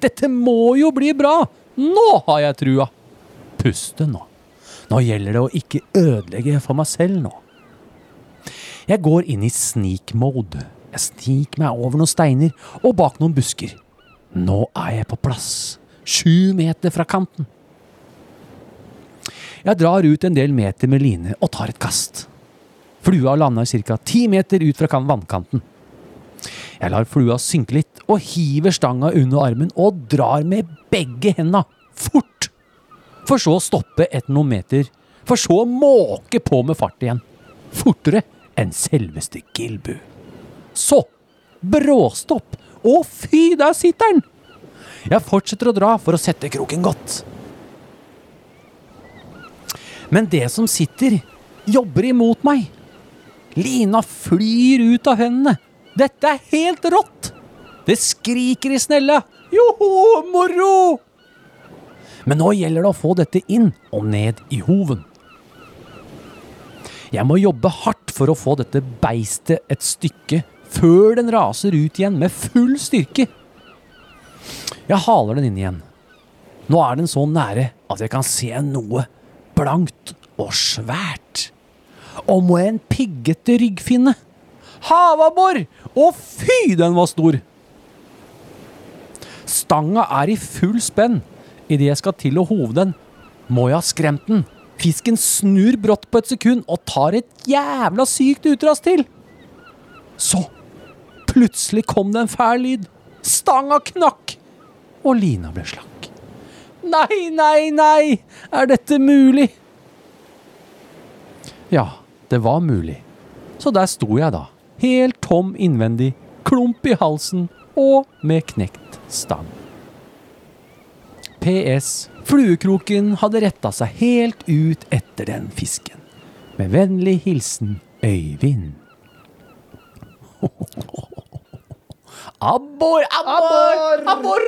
Speaker 1: Dette må jo bli bra! Nå har jeg trua! Puste nå. Nå gjelder det å ikke ødelegge for meg selv nå. Jeg går inn i sneak-mode. Jeg sniker meg over noen steiner og bak noen busker. Nå er jeg på plass. Sju meter fra kanten. Jeg drar ut en del meter med line og tar et kast. Flua lander ca. ti meter ut fra kan- vannkanten. Jeg lar flua synke litt og hiver stanga under armen og drar med begge henda. Fort! For så å stoppe etter noen meter. For så å måke på med fart igjen. Fortere enn selveste Gilbu. Så! Bråstopp! Å fy, der sitter den! Jeg fortsetter å dra for å sette kroken godt. Men det som sitter, jobber imot meg. Lina flyr ut av hendene. Dette er helt rått! Det skriker i snella. Joho, moro! Men nå gjelder det å få dette inn og ned i hoven. Jeg må jobbe hardt for å få dette beistet et stykke før den raser ut igjen med full styrke. Jeg haler den inn igjen. Nå er den så nære at jeg kan se noe blankt og svært. Og må en piggete ryggfinne. Havabbor! Å fy, den var stor! Stanga er i full spenn. Idet jeg skal til å hove den, må jeg ha skremt den. Fisken snur brått på et sekund og tar et jævla sykt utras til. Så, plutselig kom det en fæl lyd. Stanga knakk, og lina ble slakk. Nei, nei, nei! Er dette mulig? Ja, det var mulig. Så der sto jeg da, helt tom innvendig, klump i halsen og med knekt stang. PS. Fluekroken hadde retta seg helt ut etter den fisken. Med vennlig hilsen Øyvind. Abbor, abbor, abbor!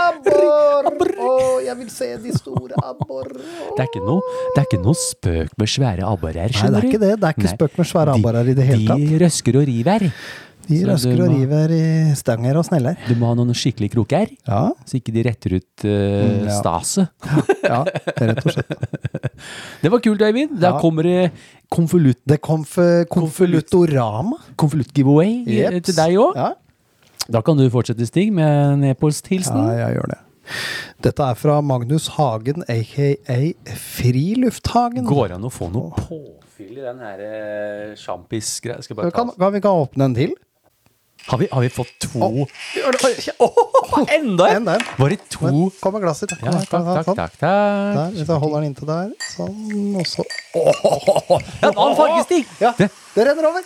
Speaker 5: Abbor! Å, jeg vil se de store abbor.
Speaker 1: Det er ikke noe, det er ikke noe spøk med svære abborer,
Speaker 5: Nei, det
Speaker 1: skjønner
Speaker 5: er
Speaker 1: du.
Speaker 5: ikke det. Det er ikke
Speaker 1: Nei.
Speaker 5: spøk med svære abborer i det hele tatt.
Speaker 1: De røsker og river.
Speaker 5: De
Speaker 1: så
Speaker 5: røsker
Speaker 1: du
Speaker 5: og
Speaker 1: må-
Speaker 5: river i stanger og sneller.
Speaker 1: Du må ha noen skikkelige kroker,
Speaker 5: Ja,
Speaker 1: så ikke de retter ut eh,
Speaker 5: Mm, ja.
Speaker 1: staset.
Speaker 5: ja, rett og slett.
Speaker 1: Det var kult, Øyvind. Der
Speaker 5: Ja.
Speaker 1: kommer det konvolutt-
Speaker 5: Det kom for konvolutorama.
Speaker 1: konvolutt-giveaway eh,
Speaker 5: Jeps.
Speaker 1: til deg òg.
Speaker 5: Ja.
Speaker 1: Da kan du fortsette, Stig, med en e-posthilsen.
Speaker 5: ja, jeg gjør det. Dette er fra Magnus Hagen, aka Frilufthagen.
Speaker 1: Går det an å få noe påfyll i den her eh, sjampis-greia? Skal jeg bare ta
Speaker 5: Kan, kan vi ikke åpne en til?
Speaker 1: har, vi, har vi fått to
Speaker 5: Å, gjør det. Oi, ja.
Speaker 1: Åh, Enda en!
Speaker 5: Enda en.
Speaker 1: Var det to?
Speaker 5: Men, Kom med glasset. Kom
Speaker 1: Ja,
Speaker 5: her,
Speaker 1: takk,
Speaker 5: kom her,
Speaker 1: takk,
Speaker 5: sånn.
Speaker 1: takk. takk.
Speaker 5: Der, hvis jeg holder den inntil der. Sånn, og så
Speaker 1: Ja, det var en fargestig!
Speaker 5: Ja,
Speaker 1: Det-
Speaker 5: det renner over!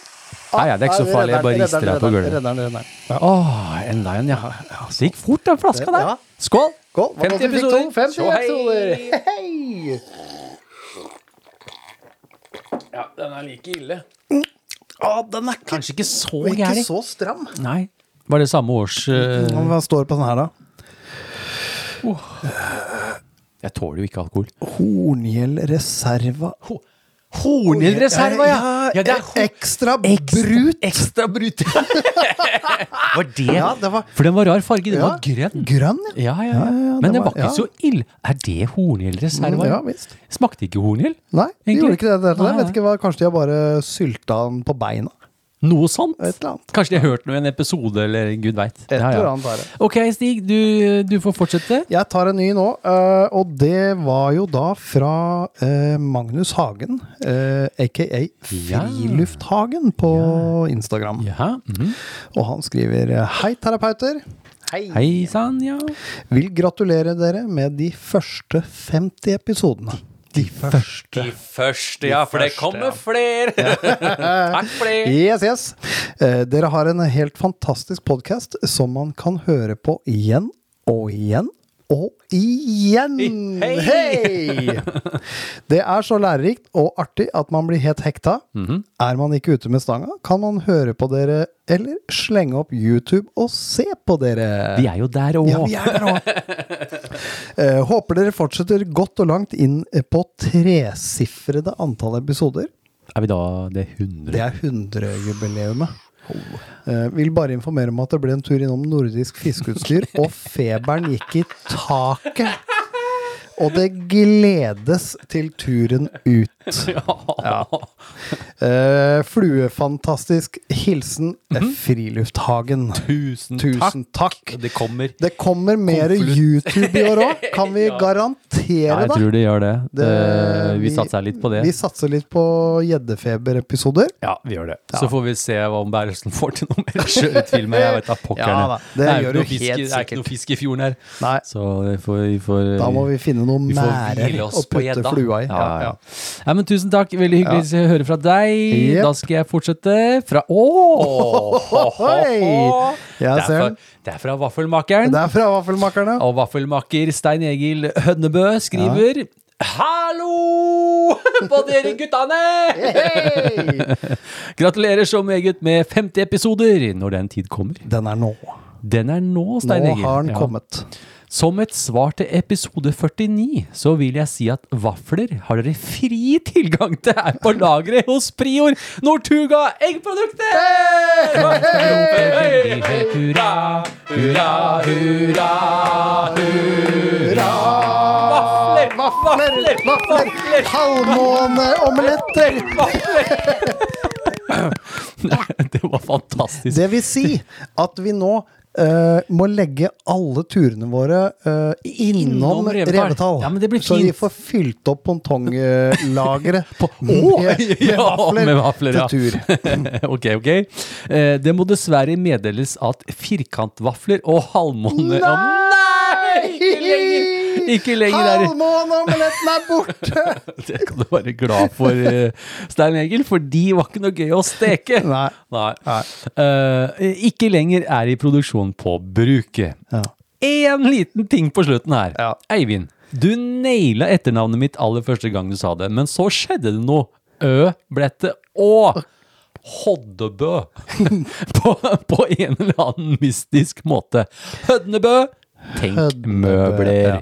Speaker 1: Nei, Ah, ja, det er ikke så farlig, jeg bare rister deg på gulvet.
Speaker 5: Renner, renner, renner.
Speaker 1: Åh, enda en, ja. ja. Så gikk fort den flaska der.
Speaker 5: Ja.
Speaker 1: Skål!
Speaker 5: Skål. Hva
Speaker 1: 50
Speaker 5: var det vi fikk
Speaker 1: episoder.
Speaker 5: to? 50
Speaker 1: Tjo hei.
Speaker 5: episoder! Hei!
Speaker 1: Ja, den er like ille.
Speaker 5: Å, Ah, den er ikke,
Speaker 1: Kanskje ikke så
Speaker 5: den er ikke
Speaker 1: gæren.
Speaker 5: så stram.
Speaker 1: Nei. Var det samme års eh,
Speaker 5: Hva står det på den her, da?
Speaker 1: Jeg tåler jo ikke alkohol.
Speaker 5: Horngjell Reserva.
Speaker 1: Hornildreserva, ja! ja det er ho-
Speaker 5: ekstra
Speaker 1: Brut.
Speaker 5: brut.
Speaker 1: Ekstra brut. var det,
Speaker 5: Ja, det var
Speaker 1: For den var rar farge. Den
Speaker 5: ja,
Speaker 1: var grønn.
Speaker 5: Grønn, ja.
Speaker 1: Ja, ja, ja.
Speaker 5: Ja, ja,
Speaker 1: Men
Speaker 5: den
Speaker 1: den var
Speaker 5: var-
Speaker 1: ikke
Speaker 5: ja.
Speaker 1: så ille. Er det hornildreserva?
Speaker 5: Mm, ja, visst.
Speaker 1: Smakte ikke horngild?
Speaker 5: Nei, de
Speaker 1: Egentlig.
Speaker 5: gjorde ikke det. det, er det.
Speaker 1: Nei,
Speaker 5: Jeg vet ikke hva, Kanskje de har bare sylta den på beina?
Speaker 1: Noe sånt?
Speaker 5: Et eller annet.
Speaker 1: Kanskje de har hørt noe i en episode, eller gud veit.
Speaker 5: Et eller annet er det.
Speaker 1: Ok, Stig, du, du får fortsette.
Speaker 5: Jeg tar en ny nå, eh, og det var jo da fra eh, Magnus Hagen, eh, aka Frilufthagen på Instagram.
Speaker 1: Ja. mhm.
Speaker 5: Og han skriver eh, Hei, terapeuter.
Speaker 1: Hei sann, ja.
Speaker 5: Vil gratulere dere med de første 50 episodene. De første.
Speaker 1: første, ja, for det kommer flere! Takk for det!
Speaker 5: Yes, yes. Eh, Dere har en helt fantastisk podkast som man kan høre på igjen og igjen. Og igjen!
Speaker 1: Hei!
Speaker 5: Hei! Det er så lærerikt og artig at man blir helt hekta.
Speaker 1: Mhm.
Speaker 5: Er man ikke ute med stanga, kan man høre på dere eller slenge opp YouTube og se på dere.
Speaker 1: Vi er jo der òg.
Speaker 5: Ja, vi er der òg. Eh, håper dere fortsetter godt og langt inn på tresifrede antall episoder.
Speaker 1: Er vi da det 100?
Speaker 5: Det er 100-jubileumet. Eh, vil bare informere om at det ble en tur innom nordisk fiskeutstyr, og feberen gikk i taket. Og det gledes til turen ut. Ja. Eh, fluefantastisk. Hilsen Frilufthagen.
Speaker 1: Tusen,
Speaker 5: Tusen takk.
Speaker 1: Mhm. takk! Det kommer.
Speaker 5: Det kommer mer
Speaker 1: Konvolutt.
Speaker 5: YouTube i år òg, kan vi
Speaker 1: Ja,
Speaker 5: garantere
Speaker 1: jeg
Speaker 5: det.
Speaker 1: tror det gjør det. det
Speaker 5: Det-
Speaker 1: vi satser litt på det.
Speaker 5: Vi satser litt på gjeddefeberepisoder.
Speaker 1: Ja, vi gjør det. Så får vi se hva ombærelsen får til noe mer sjøutfilmer. Jeg vet da pokker.
Speaker 5: Ja da, det
Speaker 1: er jo ikke
Speaker 5: gjør
Speaker 1: noe
Speaker 5: du
Speaker 1: fisk i-
Speaker 5: helt
Speaker 1: Det er ikke noe
Speaker 5: sikkert.
Speaker 1: fisk i fjorden her.
Speaker 5: Nei.
Speaker 1: Så vi får, vi får eh,
Speaker 5: Da må vi finne noen
Speaker 1: vi får
Speaker 5: merder
Speaker 1: hvile
Speaker 5: å
Speaker 1: oss på
Speaker 5: putte
Speaker 1: gjedda.
Speaker 5: flua i.
Speaker 1: Ja, ja, ja. Nei, men tusen takk. Veldig hyggelig å høre fra deg.
Speaker 5: Jep.
Speaker 1: Da skal jeg fortsette fra Ååå!
Speaker 5: Hei! Ja,
Speaker 1: Det er fra-
Speaker 5: ser den.
Speaker 1: det er fra Vaffelmakeren.
Speaker 5: Det er fra Vaffelmakerne.
Speaker 1: Og vaffelmaker Stein Egil Hønnebø skriver Hallo på dere guttene!
Speaker 5: Hei!
Speaker 1: Gratulerer så meget med 50 episoder, når den tid kommer.
Speaker 5: Den er nå.
Speaker 1: Den er nå,
Speaker 5: Nå
Speaker 1: Stein Egil.
Speaker 5: har den
Speaker 1: Ja.
Speaker 5: kommet.
Speaker 1: Som et svar til episode 49, så vil jeg si at vafler har dere fri tilgang til her på lageret hos Prior Nortuga eggprodukter! Hurra, hurra, hurra, hurra! Vafler, vafler,
Speaker 5: Vafler, vafler,
Speaker 1: vafler,
Speaker 5: halvmåneomeletter!
Speaker 1: vafler! Det var fantastisk.
Speaker 5: Det vil si at vi nå eh, må legge alle turene våre eh, innom,
Speaker 1: Innom revetall.
Speaker 5: revetall.
Speaker 1: Ja, men det blir
Speaker 5: så vi
Speaker 1: fint.
Speaker 5: får fylt opp pongtonglageret
Speaker 1: Å,
Speaker 5: med
Speaker 1: ja,
Speaker 5: vafler
Speaker 1: med vafler, ja.
Speaker 5: til tur.
Speaker 1: ok, ok. Eh, det må dessverre meddeles at firkantvafler og halvmåne Å, nei! Ikke lenger! Ikke lenger er
Speaker 5: Halvmåneomeletten er borte!
Speaker 1: Det kan du være glad for, eh, Stein Egil, for de var ikke noe gøy å steke.
Speaker 5: Nei.
Speaker 1: Nei. Eh, ikke lenger er i produksjon på bruket.
Speaker 5: Ja.
Speaker 1: Én liten ting på slutten her.
Speaker 5: Ja.
Speaker 1: Eivind, du naila etternavnet mitt aller første gang du sa det, men så skjedde det noe. Ø ble til Å. Hoddebø. på, på en eller annen mystisk måte. Hødnebø. Tenk møbler.
Speaker 5: ja.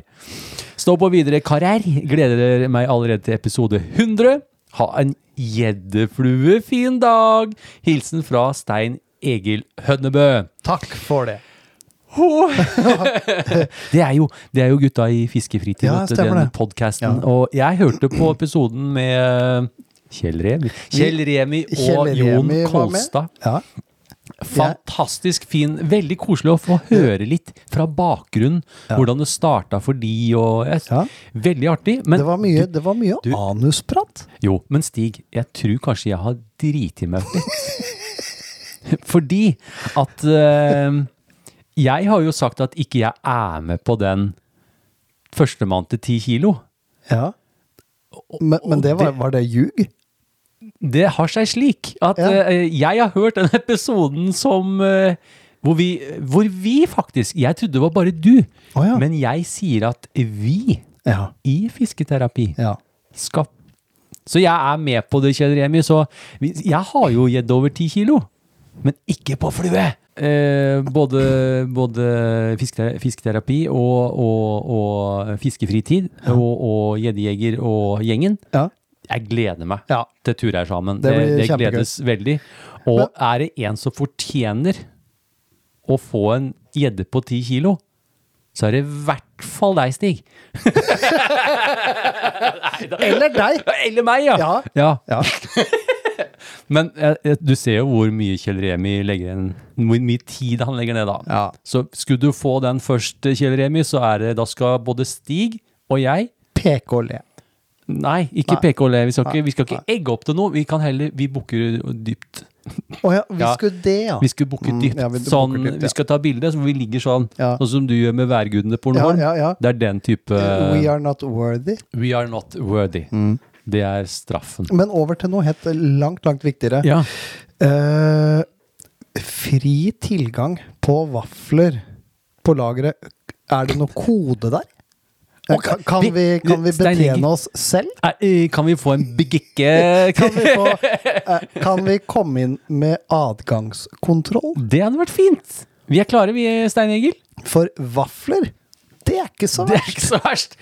Speaker 1: Stå på videre karriere. Gleder meg allerede til episode 100. Ha en gjeddeflue fin dag. Hilsen fra Stein Egil Hødnebø.
Speaker 5: Takk for det.
Speaker 1: Det er jo, det er jo gutta i Fiskefritid,
Speaker 5: Ja,
Speaker 1: vet du,
Speaker 5: stemmer
Speaker 1: den
Speaker 5: det.
Speaker 1: podkasten. Og jeg hørte på episoden med eh, Kjell Remi, Kjell Remi og
Speaker 5: Kjell
Speaker 1: Jon
Speaker 5: Remi var med.
Speaker 1: Kolstad.
Speaker 5: Ja.
Speaker 1: Fantastisk fin. Veldig koselig å få høre litt fra bakgrunnen. Hvordan det starta for de og jeg,
Speaker 5: Ja.
Speaker 1: Veldig artig. Men,
Speaker 5: Det var mye, det var mye anusprat.
Speaker 1: jo, men Stig, jeg tror kanskje jeg har driti meg ut. Fordi at eh, Jeg har jo sagt at ikke jeg er med på den førstemann til ti kilo.
Speaker 5: Ja. Men, men det var, var det ljug?
Speaker 1: Det har seg slik at
Speaker 5: Ja.
Speaker 1: eh, jeg har hørt den episoden som eh, hvor, vi, hvor vi faktisk Jeg trodde det var bare du,
Speaker 5: Å ja.
Speaker 1: men jeg sier at vi
Speaker 5: Ja.
Speaker 1: i fisketerapi
Speaker 5: ja.
Speaker 1: skal Så jeg er med på det, Kjell Remi. Så vi- jeg har jo gitt over ti kilo, men ikke på flue. Eh, både både fiskete- fisketerapi og, og, og fiskefritid og, og gjeddejeger og gjengen.
Speaker 5: Ja.
Speaker 1: Jeg gleder meg
Speaker 5: Ja.
Speaker 1: til turer sammen.
Speaker 5: Det
Speaker 1: Det,
Speaker 5: blir
Speaker 1: det,
Speaker 5: kjempegøy.
Speaker 1: gledes veldig. Og er det en som fortjener å få en gjedde på ti kilo, så er det i hvert fall deg, Stig.
Speaker 5: Eller deg!
Speaker 1: Eller meg, ja!
Speaker 5: Ja. Ja.
Speaker 1: Men eh, eh, du ser jo hvor mye Kjell Remi legger inn, hvor mye tid han legger ned da.
Speaker 5: Ja.
Speaker 1: Så skulle du få den først, eh, Kjell Remi, så er det, da skal både Stig og jeg
Speaker 5: PK-le.
Speaker 1: Nei, ikke
Speaker 5: Nei.
Speaker 1: PK og Le. Vi skal ikke, vi skal ikke egge opp til noe. Vi kan heller Vi bukker dypt.
Speaker 5: Å ja, vi
Speaker 1: Ja.
Speaker 5: skulle det, ja.
Speaker 1: Vi skulle bukke
Speaker 5: Mm,
Speaker 1: dypt.
Speaker 5: ja, vi bukker
Speaker 1: sånn,
Speaker 5: dypt, ja.
Speaker 1: Vi skal ta bilde, så vi ligger sånn.
Speaker 5: Ja.
Speaker 1: Sånn som du gjør med værgudene på
Speaker 5: Ja,
Speaker 1: Nordholm.
Speaker 5: ja, ja.
Speaker 1: Det er den type
Speaker 5: We
Speaker 1: eh,
Speaker 5: are Mm. not worthy.
Speaker 1: We are not worthy. Det er straffen.
Speaker 5: Men over til noe helt langt, langt viktigere.
Speaker 1: Ja.
Speaker 5: Eh, fri tilgang på vafler på lageret. Er det noe kode der? Eh,
Speaker 1: Ok,
Speaker 5: Kan, kan,
Speaker 1: vi-
Speaker 5: vi, kan vi
Speaker 1: Stein Egil.
Speaker 5: betjene oss selv?
Speaker 1: Nei, eh, Kan vi få en begikke?
Speaker 5: Kan vi, få, eh, kan vi komme inn med adgangskontroll?
Speaker 1: Det hadde vært fint! Vi er klare, vi, Stein Egil.
Speaker 5: For vafler, det er ikke så
Speaker 1: Det er ikke så verst.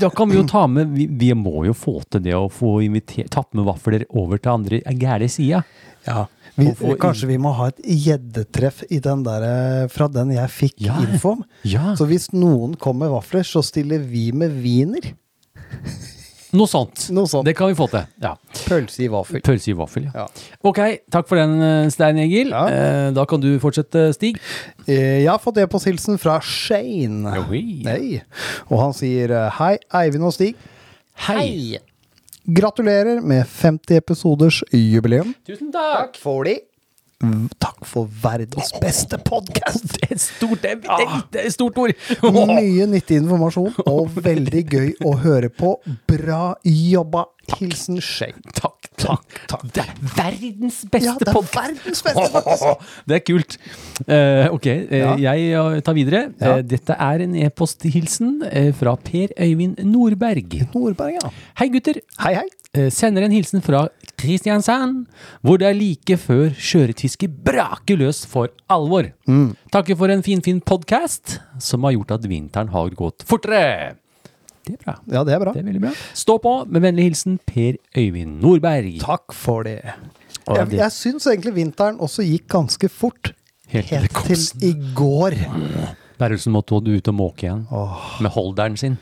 Speaker 1: Da kan vi jo ta med Vi, vi må jo få til det å få inviter, tatt med vafler over til andre gærne sida.
Speaker 5: Ja. Vi,
Speaker 1: Og- og-
Speaker 5: kanskje vi må ha et gjeddetreff i den der, eh, fra den jeg fikk
Speaker 1: Ja.
Speaker 5: info om.
Speaker 1: Ja.
Speaker 5: Så hvis noen kommer med vafler, så stiller vi med wiener.
Speaker 1: Noe sånt.
Speaker 5: Noe sånt.
Speaker 1: Det kan vi få til. Ja.
Speaker 5: Pølse i vaffel.
Speaker 1: Pølse i vaffel, ja.
Speaker 5: Ja.
Speaker 1: Ok, takk for den, eh, Stein Egil.
Speaker 5: Ja.
Speaker 1: Eh, Da kan du fortsette, Stig.
Speaker 5: Eh, Jeg har fått e-posthilsen fra Shane.
Speaker 1: Oi.
Speaker 5: Hei. Og han sier eh, hei, Eivind og Stig.
Speaker 1: Hei.
Speaker 5: Gratulerer med 50 episoders jubileum.
Speaker 1: Tusen takk.
Speaker 5: for de. Takk for verdens beste podkast!
Speaker 1: Det er et stort, det er,
Speaker 5: Ah.
Speaker 1: det er, det er et stort ord.
Speaker 5: Mye nyttig informasjon og veldig gøy å høre på. Bra jobba! Hilsen Shane.
Speaker 1: Takk, takk, takk. Det er verdens beste
Speaker 5: Ja, det er
Speaker 1: podcast.
Speaker 5: verdens beste podcast.
Speaker 1: Det er kult. Eh, ok, eh,
Speaker 5: Ja.
Speaker 1: jeg eh, tar videre.
Speaker 5: Ja.
Speaker 1: Eh, dette er en e-posthilsen eh, fra Per Øyvind Nordberg.
Speaker 5: Nordberg, ja.
Speaker 1: Hei gutter.
Speaker 5: Hei, hei.
Speaker 1: Eh, sender en hilsen fra Kristiansand, hvor det er like før skjøretfisket braker løs for alvor.
Speaker 5: Mm.
Speaker 1: Takker for en finfin podkast, som har gjort at vinteren har gått fortere. Det er bra.
Speaker 5: Ja, det er bra.
Speaker 1: Det er veldig bra. Stå på, med vennlig hilsen Per Øyvind Nordberg.
Speaker 5: Takk for det.
Speaker 1: Og
Speaker 5: Jeg,
Speaker 1: det-
Speaker 5: jeg syns egentlig vinteren også gikk ganske fort.
Speaker 1: Helt til det
Speaker 5: Helt
Speaker 1: kom
Speaker 5: til i går.
Speaker 1: Berrelsen måtte ut og måke igjen med holderen sin.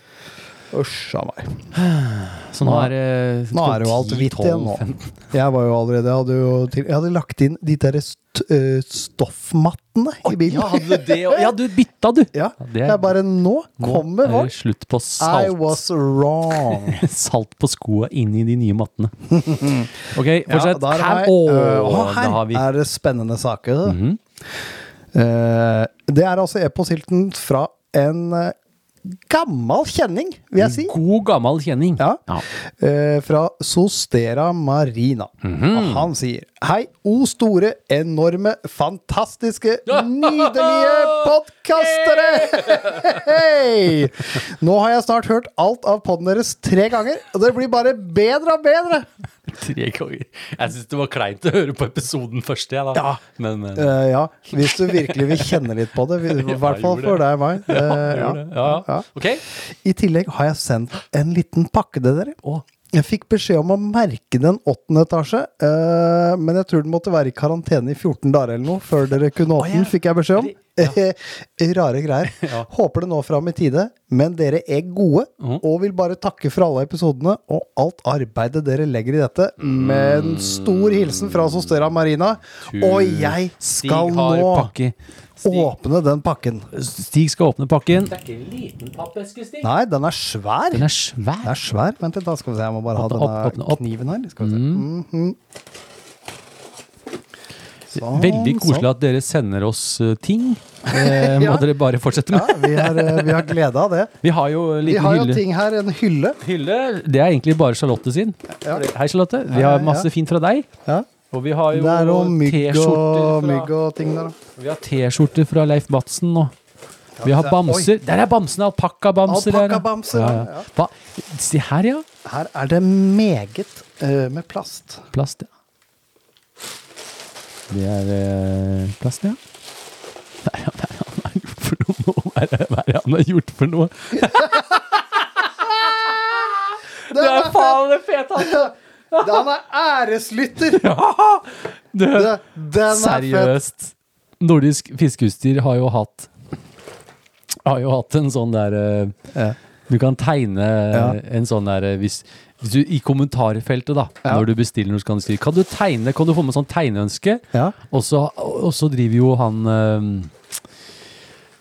Speaker 5: Usch a meg.
Speaker 1: Så nå er eh, det
Speaker 5: Nå er det jo alt
Speaker 1: 10,
Speaker 5: hvitt igjen
Speaker 1: 12,
Speaker 5: nå.
Speaker 1: 15.
Speaker 5: Jeg var jo allerede Jeg hadde, jo til, jeg hadde lagt inn de der st øh, stoffmattene i
Speaker 1: Ja,
Speaker 5: bilen.
Speaker 1: hadde du det også? Ja, du bytta, du.
Speaker 5: Ja,
Speaker 1: det er-
Speaker 5: jeg bare Nå
Speaker 1: Nå
Speaker 5: kommer
Speaker 1: er det
Speaker 5: vårt
Speaker 1: slutt på
Speaker 5: I
Speaker 1: salt,
Speaker 5: was wrong.
Speaker 1: salt på skoa inn i de nye mattene. Ok,
Speaker 5: Ja,
Speaker 1: fortsett.
Speaker 5: da er det
Speaker 1: her,
Speaker 5: meg.
Speaker 1: å,
Speaker 5: Øh, og
Speaker 1: da
Speaker 5: her
Speaker 1: har vi Mhm.
Speaker 5: er det spennende saker. Eh, det er altså e-posthilten fra en eh, gammel kjenning, vil
Speaker 1: Mm.
Speaker 5: jeg si.
Speaker 1: god, gammel kjenning.
Speaker 5: Ja. Eh, fra Sostera Marina.
Speaker 1: Mhm.
Speaker 5: Og han sier Hei, o store, enorme, fantastiske, nydelige podkastere! Hei! Nå har jeg snart hørt alt av poden deres tre ganger, og det blir bare bedre og bedre.
Speaker 1: Tre ganger. Jeg syns det var kleint å høre på episoden først, jeg, da.
Speaker 5: Ja.
Speaker 1: Men, men
Speaker 5: Eh, ja, hvis du virkelig vil kjenne litt på det. I hvert fall
Speaker 1: gjorde
Speaker 5: for
Speaker 1: det.
Speaker 5: deg og meg. Eh,
Speaker 1: gjør det. Ja, ja.
Speaker 5: ja.
Speaker 1: Ok.
Speaker 5: I tillegg har jeg sendt en liten pakke til dere.
Speaker 1: Å,
Speaker 5: Jeg fikk beskjed om å merke den åttende etasje, eh, men jeg tror den måtte være i karantene i 14 dager eller noe før dere kunne åpne den, fikk jeg beskjed om. Eh, Rare greier.
Speaker 1: Ja. Mhm.
Speaker 5: Håper det nå fram i tide, men dere er gode og vil bare takke for alle episodene og alt arbeidet dere legger i dette. Med
Speaker 1: Mm.
Speaker 5: en stor hilsen fra Sostera Marina. Og jeg
Speaker 1: Stig
Speaker 5: skal
Speaker 1: har
Speaker 5: nå
Speaker 1: pakke. Stig,
Speaker 5: åpne den pakken.
Speaker 1: Stig skal åpne pakken.
Speaker 5: Nei, den er svær.
Speaker 1: Den er svær.
Speaker 5: Det er svær. Vent litt, da. Skal vi se. Jeg må bare ha
Speaker 1: Åpne
Speaker 5: denne
Speaker 1: opp, åpne opp. Mm.
Speaker 5: kniven her. Skal vi se. Mhm. Sånn,
Speaker 1: Veldig
Speaker 5: sånn.
Speaker 1: koselig at dere sender oss eh, ting. Eh, må
Speaker 5: Ja.
Speaker 1: dere bare fortsette med.
Speaker 5: Ja, vi har, eh, vi har glede av det.
Speaker 1: Vi har jo en
Speaker 5: Vi
Speaker 1: liten
Speaker 5: har jo
Speaker 1: hylle.
Speaker 5: ting her. En hylle.
Speaker 1: hylle. Det er egentlig bare Charlotte sin. Hei, Charlotte. Vi har masse
Speaker 5: ja.
Speaker 1: fint fra deg.
Speaker 5: Ja.
Speaker 1: Og vi har
Speaker 5: Det
Speaker 1: jo
Speaker 5: er jo mygg og,
Speaker 1: T-skjorter
Speaker 5: mygg
Speaker 1: fra,
Speaker 5: og ting der. da.
Speaker 1: vi har T-skjorter fra Leif Madsen nå. Vi har
Speaker 5: det er-
Speaker 1: bamser. Der er bamsene! Alpakkabamser. der, ja.
Speaker 5: Alpakkabamser,
Speaker 1: Ja,
Speaker 5: ja.
Speaker 1: ja. Hva? Se her, ja.
Speaker 5: Her er det meget eh, med plast.
Speaker 1: Plast, ja. Det er eh, plast, ja. Hva er det hva er det han har gjort for noe?
Speaker 5: Den
Speaker 1: Hva er det han har gjort for noe? Det er
Speaker 5: er,
Speaker 1: faen det fete, altså!
Speaker 5: den er æreslytter!
Speaker 1: Du,
Speaker 5: Det- Den er fett.
Speaker 1: Seriøst. Nordisk fiskeutstyr har jo hatt Har jo hatt en sånn der eh,
Speaker 5: Ja.
Speaker 1: Du kan tegne eh, en sånn der eh, hvis, hvis du, I kommentarfeltet, da,
Speaker 5: Ja.
Speaker 1: når du bestiller noe, så kan du skrive Kan du tegne? Kan du få med sånn tegneønske?
Speaker 5: Ja.
Speaker 1: Og så og så driver jo han eh,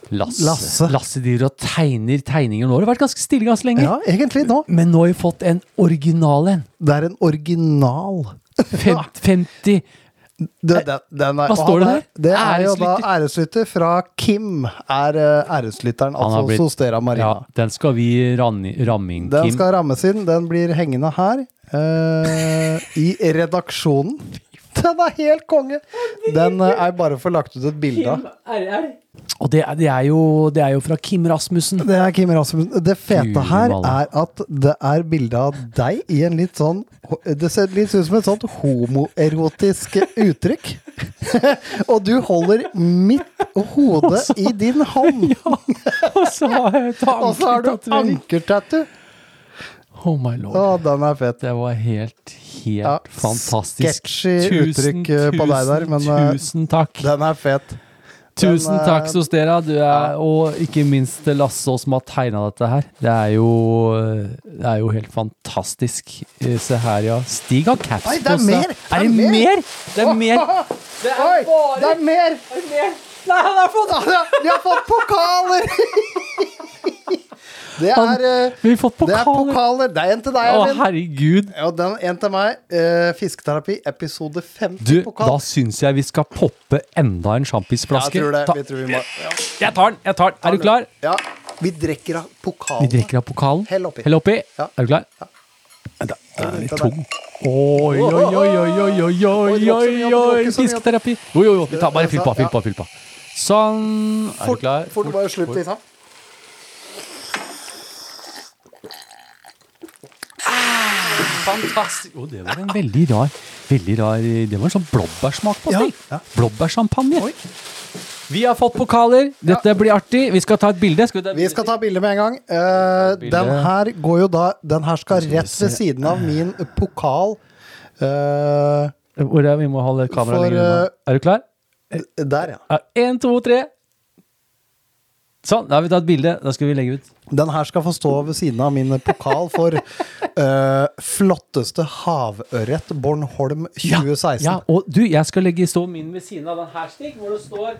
Speaker 1: Lasse.
Speaker 5: Lasse.
Speaker 1: Lasse driver og tegner tegninger. Nå har det vært ganske stille ganske lenge.
Speaker 5: ja, egentlig nå.
Speaker 1: Men nå har vi fått en original en.
Speaker 5: Det er en original.
Speaker 1: Fem- 50
Speaker 5: Det, det, den er,
Speaker 1: Hva
Speaker 5: og
Speaker 1: står det
Speaker 5: han er-
Speaker 1: der?
Speaker 5: Det er jo da
Speaker 1: Æreslytter.
Speaker 5: æreslytter fra Kim, er eh, æreslytteren,
Speaker 1: Han har
Speaker 5: altså
Speaker 1: blitt-
Speaker 5: Sostera
Speaker 1: Ja,
Speaker 5: Marina.
Speaker 1: den skal vi ramme ramme inn,
Speaker 5: Den
Speaker 1: Kim.
Speaker 5: skal rammes inn, den blir hengende her, eh, i redaksjonen. Den er helt konge! Den eh, er bare for lagt ut et bilde av.
Speaker 1: Og det er, det, er jo, det er jo fra Kim Rasmussen.
Speaker 5: Det er Kim Rasmussen. Det fete
Speaker 1: Guri
Speaker 5: her
Speaker 1: malla.
Speaker 5: er at det er bilde av deg i en litt sånn Det ser litt ut som et sånt homoerotisk uttrykk. Og du holder mitt hode i din hånd.
Speaker 1: Og så har jeg et
Speaker 5: Og så har du
Speaker 1: ankertatovering.
Speaker 5: ankertattoo!
Speaker 1: Oh my
Speaker 5: Å,
Speaker 1: lord.
Speaker 5: den er fet.
Speaker 1: Det var helt, helt
Speaker 5: Ja,
Speaker 1: fantastisk.
Speaker 5: sketchy uttrykk, eh, på deg der, men, eh,
Speaker 1: Tusen takk.
Speaker 5: Den er fet.
Speaker 1: tusen
Speaker 5: eh,
Speaker 1: takk, Sostera. Du er, og ikke minst til Lasse og som har tegna dette her. Det er jo eh, Det er jo helt fantastisk. Eh, Se her, ja. Stig har caps
Speaker 5: Oi, det er
Speaker 1: på seg.
Speaker 5: mer!
Speaker 1: Er det mer? Det er mer.
Speaker 5: Det er Oi, bare Det er mer! Nei, han har fått Vi har fått pokaler! Det
Speaker 1: Han-
Speaker 5: er eh,
Speaker 1: Vi har fått
Speaker 5: Det er
Speaker 1: pokaler.
Speaker 5: pokaler. Det er en til deg,
Speaker 1: Å,
Speaker 5: Eivind.
Speaker 1: herregud.
Speaker 5: Ja, den en til meg. Eh, fisketerapi, episode 50
Speaker 1: Du, da
Speaker 5: pokal.
Speaker 1: syns jeg vi skal poppe enda en
Speaker 5: Jeg
Speaker 1: sjampisflaske.
Speaker 5: tror det.
Speaker 1: Ta-
Speaker 5: Vi tror vi må
Speaker 1: Jeg tar den! jeg tar den. Er du klar?
Speaker 5: Ja. Vi drikker av
Speaker 1: Vi
Speaker 5: pokalen.
Speaker 1: drikker av pokalen.
Speaker 5: Hell oppi.
Speaker 1: Hell oppi.
Speaker 5: Ja.
Speaker 1: Er du klar? Da, da er vi tung. Oi, oi, oi, oi, oi, oi, oi,
Speaker 5: det var ikke så mye,
Speaker 1: oi,
Speaker 5: det var
Speaker 1: oi,
Speaker 5: ikke så mye.
Speaker 1: fisketerapi. Jo, jo, jo, vi tar bare fyll på,
Speaker 5: Ja.
Speaker 1: fyll på, fyll på. Sånn. Er du
Speaker 5: Fort,
Speaker 1: klar?
Speaker 5: fort, bare slutt,
Speaker 1: fort.
Speaker 5: liksom.
Speaker 1: Fantastisk. Å, det var en veldig rar, veldig rar Det var en sånn blåbærsmak på seg.
Speaker 5: Ja, ja.
Speaker 1: Blåbærchampagne. Vi har fått pokaler. Dette blir artig. Vi skal ta et bilde. Skal vi ta et
Speaker 5: Vi
Speaker 1: bilde?
Speaker 5: skal ta bilde med en gang. Eh, den her går jo da Den her skal rett ved siden av min pokal. Eh,
Speaker 1: Hvor er vi må holde kameraet Eh,
Speaker 5: For, eh,
Speaker 1: lenger unna. Er du klar?
Speaker 5: der, ja.
Speaker 1: Én, to, tre. Sånn, da har vi tatt bilde. Da skal vi legge ut.
Speaker 5: Den her skal få stå ved siden av min pokal for eh, flotteste havørret Bornholm 2016.
Speaker 1: Ja, og du, jeg skal legge stå min ved siden av den her, Stig, hvor det står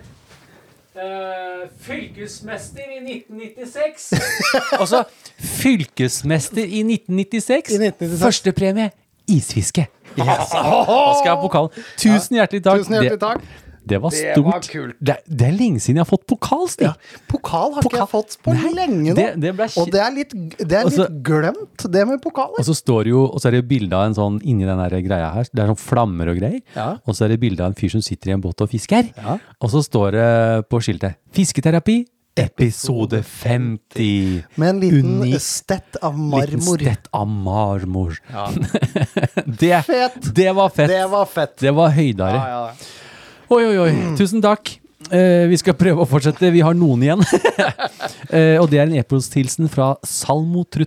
Speaker 1: eh, fylkesmester i 1996. altså fylkesmester i 1996.
Speaker 5: 1996.
Speaker 1: Førstepremie isfiske. Yes. Da skal jeg ha pokalen. Tusen hjertelig takk.
Speaker 5: Tusen hjertelig takk.
Speaker 1: Det, det var stort. Det, er- det er lenge siden jeg har fått pokal, Stig.
Speaker 5: Ja. Pokal har ikke
Speaker 1: Pokal.
Speaker 5: jeg fått på
Speaker 1: Nei,
Speaker 5: lenge nå.
Speaker 1: det- det ble Altså- ski-
Speaker 5: og det er litt, det er
Speaker 1: Og så-
Speaker 5: litt glemt, det med pokaler.
Speaker 1: Og så står det jo, og så er det jo bilde av en sånn inni den her greia her. Det er sånn flammer og greier.
Speaker 5: Ja.
Speaker 1: Og så er det bilde av en fyr som sitter i en båt og fisker. Og så står det på skiltet 'Fisketerapi episode 50'.
Speaker 5: Med en liten
Speaker 1: Unik
Speaker 5: stett av
Speaker 1: liten
Speaker 5: marmor.
Speaker 1: stett av marmor. det,
Speaker 5: Fett.
Speaker 1: det var fett.
Speaker 5: Det var Mm. fett.
Speaker 1: Det var høydere.
Speaker 5: Ja, ja, ja.
Speaker 1: Oi, oi, oi. Tusen takk. Eh, vi skal prøve å fortsette. Vi har noen igjen. Eh, og det er en e-posthilsen fra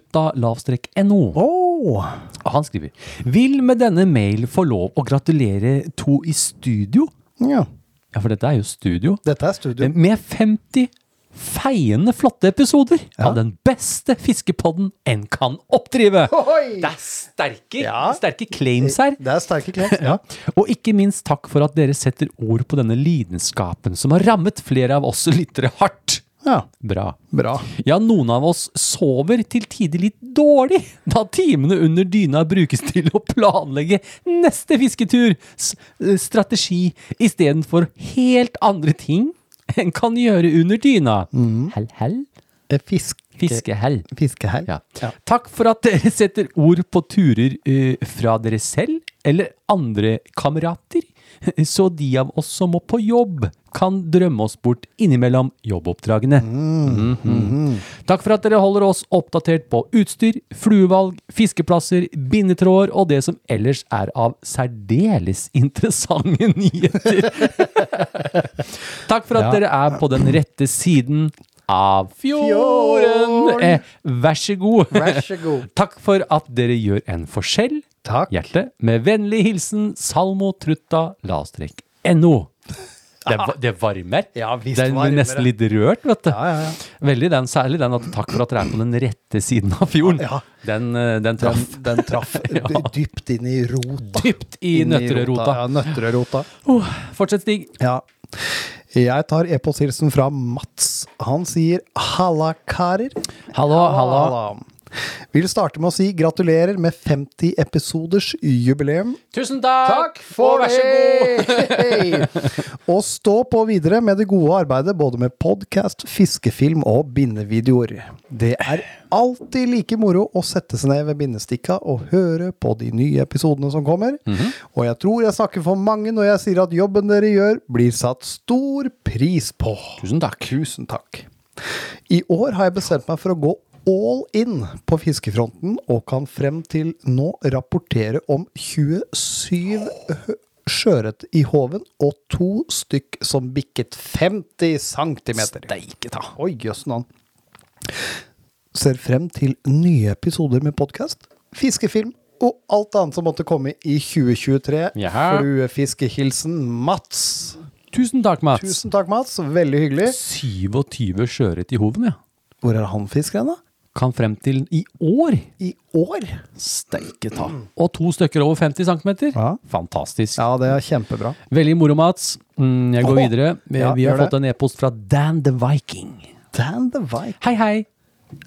Speaker 1: salmotrutta-no.
Speaker 5: Åh.
Speaker 1: Og Han skriver Vil med denne mail få lov å gratulere to i studio
Speaker 5: ja.
Speaker 1: Ja, for dette er jo studio
Speaker 5: Dette er studio.
Speaker 1: Med 50 feiende flotte episoder Av den beste fiskepodden en kan oppdrive
Speaker 5: Ohoi!
Speaker 1: Det er sterke,
Speaker 5: Ja.
Speaker 1: sterke claims her
Speaker 5: Det er sterke klær. Ja.
Speaker 1: og ikke minst takk for at dere setter ord på denne lidenskapen som har rammet flere av oss lyttere hardt.
Speaker 5: ja.
Speaker 1: Bra.
Speaker 5: Bra.
Speaker 1: Ja, noen av oss sover til tider litt dårlig, da timene under dyna brukes til å planlegge neste fisketur, s- eh, strategi, istedenfor helt andre ting en kan gjøre under dyna. Hell, hell.
Speaker 5: Eh, Fisk,
Speaker 1: Fiskehell.
Speaker 5: fiskehell.
Speaker 1: Ja. Takk for at dere setter ord på turer eh, fra dere selv eller andre kamerater, så de av oss som må på jobb, kan drømme oss bort innimellom jobboppdragene. Mhm. Takk for at dere holder oss oppdatert på utstyr, fluevalg, fiskeplasser, bindetråder og det som ellers er av særdeles interessante nyheter. Takk for at dere er på den rette siden av fjorden.
Speaker 5: Fjorden.
Speaker 1: Eh, vær så god.
Speaker 5: Vær så god.
Speaker 1: Takk for at dere gjør en forskjell.
Speaker 5: Takk.
Speaker 1: Hjerte. Med vennlig hilsen salmotrutta-no. Det, va- det varmer.
Speaker 5: Ja, visst
Speaker 1: det er
Speaker 5: varmer det.
Speaker 1: nesten litt rørt, vet du.
Speaker 5: Ja, ja, ja.
Speaker 1: Veldig den, særlig den at takk for at dere er på den rette siden av fjorden.
Speaker 5: Ja.
Speaker 1: Den, eh, den traff
Speaker 5: Den, den traff dy- dypt inn i rota.
Speaker 1: dypt i
Speaker 5: Inn
Speaker 1: nøtterørota.
Speaker 5: Ja, nøtterørota.
Speaker 1: Oh, fortsett, Stig.
Speaker 5: Ja. Jeg tar e-posthilsen fra Mats. Han sier 'halla, karer'.
Speaker 1: Hallo, hallo.
Speaker 5: Vil starte med å si gratulerer med 50 episoders jubileum.
Speaker 1: Tusen takk! og vær så god!
Speaker 5: det! og stå på videre med det gode arbeidet både med podkast, fiskefilm og bindevideoer. Det er alltid like moro å sette seg ned ved bindestikka og høre på de nye episodene som kommer.
Speaker 1: Mhm.
Speaker 5: Og jeg tror jeg snakker for mange når jeg sier at jobben dere gjør, blir satt stor pris på.
Speaker 1: Tusen takk.
Speaker 5: Tusen takk. I år har jeg bestemt meg for å gå all in på fiskefronten, og kan frem til nå rapportere om 27 hø- sjøørret i håven, og to stykk som bikket 50 centimeter.
Speaker 1: Steike ta.
Speaker 5: Oi, jøssen an. Ser frem til nye episoder med podkast, fiskefilm og alt annet som måtte komme i 2023.
Speaker 1: Jaha.
Speaker 5: Fluefiskehilsen Mats.
Speaker 1: Tusen takk, Mats.
Speaker 5: Tusen takk, Mats. Veldig hyggelig.
Speaker 1: 27 sjøørret i hoven, ja.
Speaker 5: Hvor er han fisker hen, da?
Speaker 1: Kan frem til i år
Speaker 5: I år?
Speaker 1: steike ta. Mm. Og to stykker over 50 cm.
Speaker 5: Ja.
Speaker 1: Fantastisk.
Speaker 5: Ja, det er kjempebra.
Speaker 1: Veldig moro, Mats. Mm, jeg går
Speaker 5: Åh.
Speaker 1: videre. Vi,
Speaker 5: Ja,
Speaker 1: vi har
Speaker 5: gjør det.
Speaker 1: fått en e-post fra Dan the Viking.
Speaker 5: Dan the Vike.
Speaker 1: Hei, hei.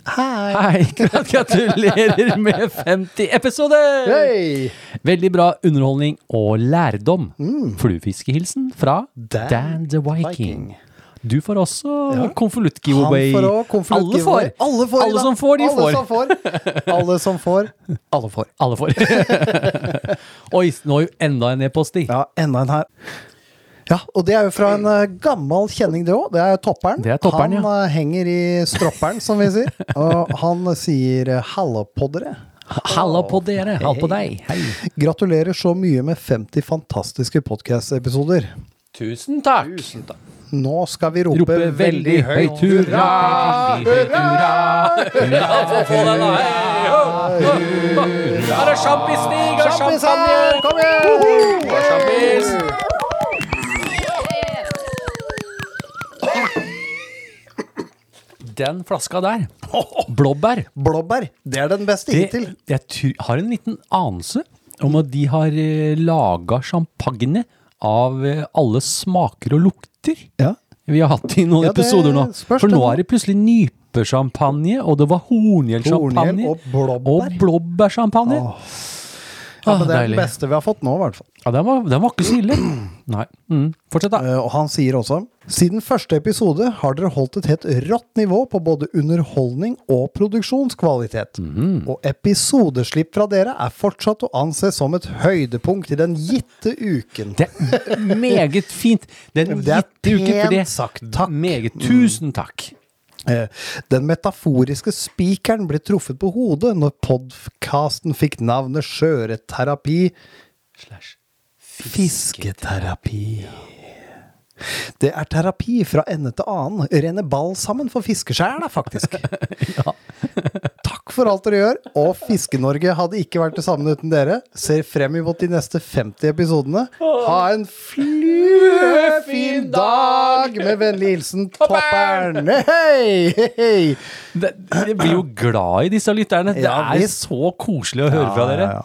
Speaker 5: Hei!
Speaker 1: Hei, gratulerer med 50 episoder!
Speaker 5: Hei!
Speaker 1: Veldig bra underholdning og lærdom. Fluefiskehilsen fra
Speaker 5: Mm. Dan
Speaker 1: Dan, the Viking.
Speaker 5: Viking.
Speaker 1: Du får også
Speaker 5: Han
Speaker 1: konvolutt-giveaway.
Speaker 5: får også konvolutt
Speaker 1: Alle
Speaker 5: giveaway.
Speaker 1: får!
Speaker 5: Alle får! i dag.
Speaker 1: Alle som får, de
Speaker 5: Alle
Speaker 1: får.
Speaker 5: Som får. Alle som får. Alle får.
Speaker 1: Alle får. Oi, nå er jo enda en e-post i.
Speaker 5: Ja, enda en her. Ja, og det er jo fra en eh, gammel kjenning, det òg. Det er topperen.
Speaker 1: Det er topperen,
Speaker 5: han
Speaker 1: ja.
Speaker 5: eh, henger i stropperen, som vi sier. Og han sier eh, 'halla på dere'.
Speaker 1: Halla på dere. Halla på deg. Hei.
Speaker 5: Gratulerer så mye med 50 fantastiske podkast-episoder.
Speaker 1: Tusen takk.
Speaker 5: Nå skal vi rope,
Speaker 1: Rope veldig høyt hurra! Hurra! Hurra for å få den her! Her er sjampis-stig og
Speaker 5: Kjappis her!
Speaker 1: champagne!
Speaker 5: Kom igjen!
Speaker 1: Og sjampis! den flaska der, blåbær
Speaker 5: Blåbær, det er den beste
Speaker 1: det,
Speaker 5: hittil.
Speaker 1: Jeg tr- har en liten anelse om at de har laga champagne av eh, alle smaker og lukter.
Speaker 5: Ja.
Speaker 1: Vi har hatt det i noen
Speaker 5: Ja, det
Speaker 1: episoder nå.
Speaker 5: spørs
Speaker 1: For
Speaker 5: det
Speaker 1: nå
Speaker 5: nå.
Speaker 1: er det plutselig nypesjampanje, og det var horngjellsjampanje.
Speaker 5: Horngjell og blåbær.
Speaker 1: Og blåbærsjampanje.
Speaker 5: Ja,
Speaker 1: Ah,
Speaker 5: men det er
Speaker 1: deilig.
Speaker 5: den beste vi har fått nå, i hvert fall.
Speaker 1: Ja, den var, den var ikke så ille. Nei. Mm. Fortsett, da.
Speaker 5: Eh, Og han sier også Siden første episode har dere holdt et helt rått nivå på både underholdning og produksjonskvalitet.
Speaker 1: Mhm.
Speaker 5: Og episodeslipp fra dere er fortsatt å anse som et høydepunkt i den gitte uken.
Speaker 1: Det er meget fint. Den
Speaker 5: Det er
Speaker 1: gitte uke for det.
Speaker 5: pent sagt. Takk.
Speaker 1: Meget. Tusen takk.
Speaker 5: Eh, Den metaforiske spikeren ble truffet på hodet når podkasten fikk navnet Skjøreterapi
Speaker 1: Slash.
Speaker 5: Fisketerapi. Det er terapi fra ende til annen. Rene ball sammen for fiskeskjæra, faktisk. Takk for alt dere gjør, og Fiske-Norge hadde ikke vært det samme uten dere. Ser frem imot de neste 50 episodene. Ha en fluefin dag! Med vennlig hilsen Toppern. Hei, hei, hei.
Speaker 1: Det, jeg blir jo glad i disse lytterne. Det
Speaker 5: Ja,
Speaker 1: er
Speaker 5: visst.
Speaker 1: så koselig å høre fra dere.
Speaker 5: Ja, ja.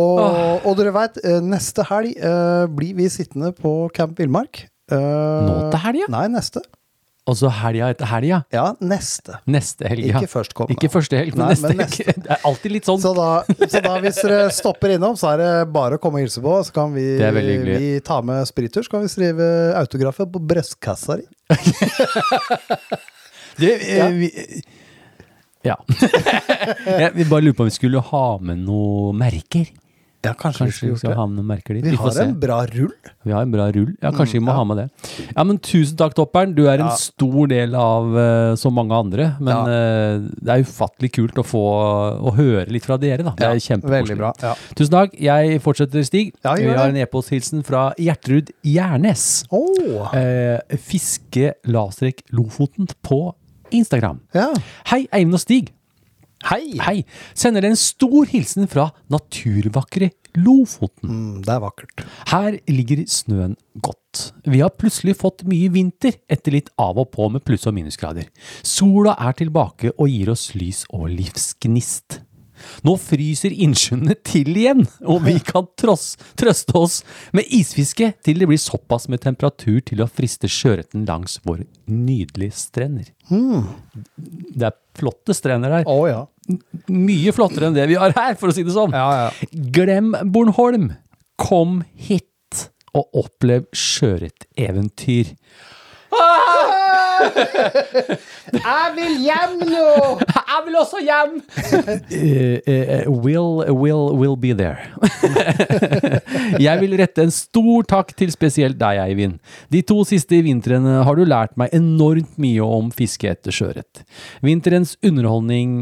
Speaker 5: Og, og dere veit, neste helg eh, blir vi sittende på Camp Villmark. Eh,
Speaker 1: Nå til helga?
Speaker 5: Nei, neste.
Speaker 1: Og så helga etter helga.
Speaker 5: Ja, neste.
Speaker 1: Neste helg, ja.
Speaker 5: Ikke førstkommende.
Speaker 1: Ikke første helg, men
Speaker 5: Nei,
Speaker 1: neste
Speaker 5: men
Speaker 1: helg.
Speaker 5: neste.
Speaker 1: Det er alltid litt sånn
Speaker 5: Så da, så da hvis dere stopper innom, så er det bare å komme og hilse på. Så kan vi,
Speaker 1: Det er veldig hyggelig.
Speaker 5: vi ta med sprittur, så kan vi skrive autografer på brystkassa di.
Speaker 1: Det, eh,
Speaker 5: Ja.
Speaker 1: vi, ja. jeg vil bare lurer på om vi skulle ha med noen merker.
Speaker 5: Ja, kanskje,
Speaker 1: Kanskje vi skal ha med noen merker dit.
Speaker 5: Vi
Speaker 1: får
Speaker 5: har
Speaker 1: se.
Speaker 5: en Mm, bra rull.
Speaker 1: vi har en bra rull. Ja, kanskje vi må ha med det. Ja, men tusen takk, Topperen. Du er en stor del av eh, så mange andre. Men
Speaker 5: Ja.
Speaker 1: eh, det er ufattelig kult å få å høre litt fra dere, da. Det er
Speaker 5: Ja, veldig
Speaker 1: kjempekoselig.
Speaker 5: bra. Ja.
Speaker 1: Tusen takk. Jeg fortsetter, Stig.
Speaker 5: Ja,
Speaker 1: vi
Speaker 5: gjør
Speaker 1: har
Speaker 5: det.
Speaker 1: en e-posthilsen fra Gjertrud Gjernes.
Speaker 5: Åh.
Speaker 1: eh, Fiske lastrek Lofoten på Instagram.
Speaker 5: Ja.
Speaker 1: Hei, Eivind og Stig.
Speaker 5: Hei!
Speaker 1: Hei. Sender en stor hilsen fra naturvakre Lofoten.
Speaker 5: Mm, det er vakkert.
Speaker 1: Her ligger snøen godt. Vi har plutselig fått mye vinter etter litt av og på med pluss- og minusgrader. Sola er tilbake og gir oss lys og livsgnist. Nå fryser innsjøene til igjen, og vi kan tross, trøste oss med isfiske til det blir såpass med temperatur til å friste sjøørreten langs våre nydelige strender. Det er flotte strender der.
Speaker 5: Å ja.
Speaker 1: Mye flottere enn det vi har her, for å si det sånn.
Speaker 5: Ja, ja.
Speaker 1: Glem Bornholm. Kom hit og opplev sjøørreteventyr.
Speaker 5: Jeg vil hjem nå!
Speaker 1: Jeg vil også hjem! Eh, will, will, will be there. jeg vil rette en stor takk til spesielt deg, Eivind. De to siste vintrene har du lært meg enormt mye om fiske etter sjøørret. Vinterens underholdning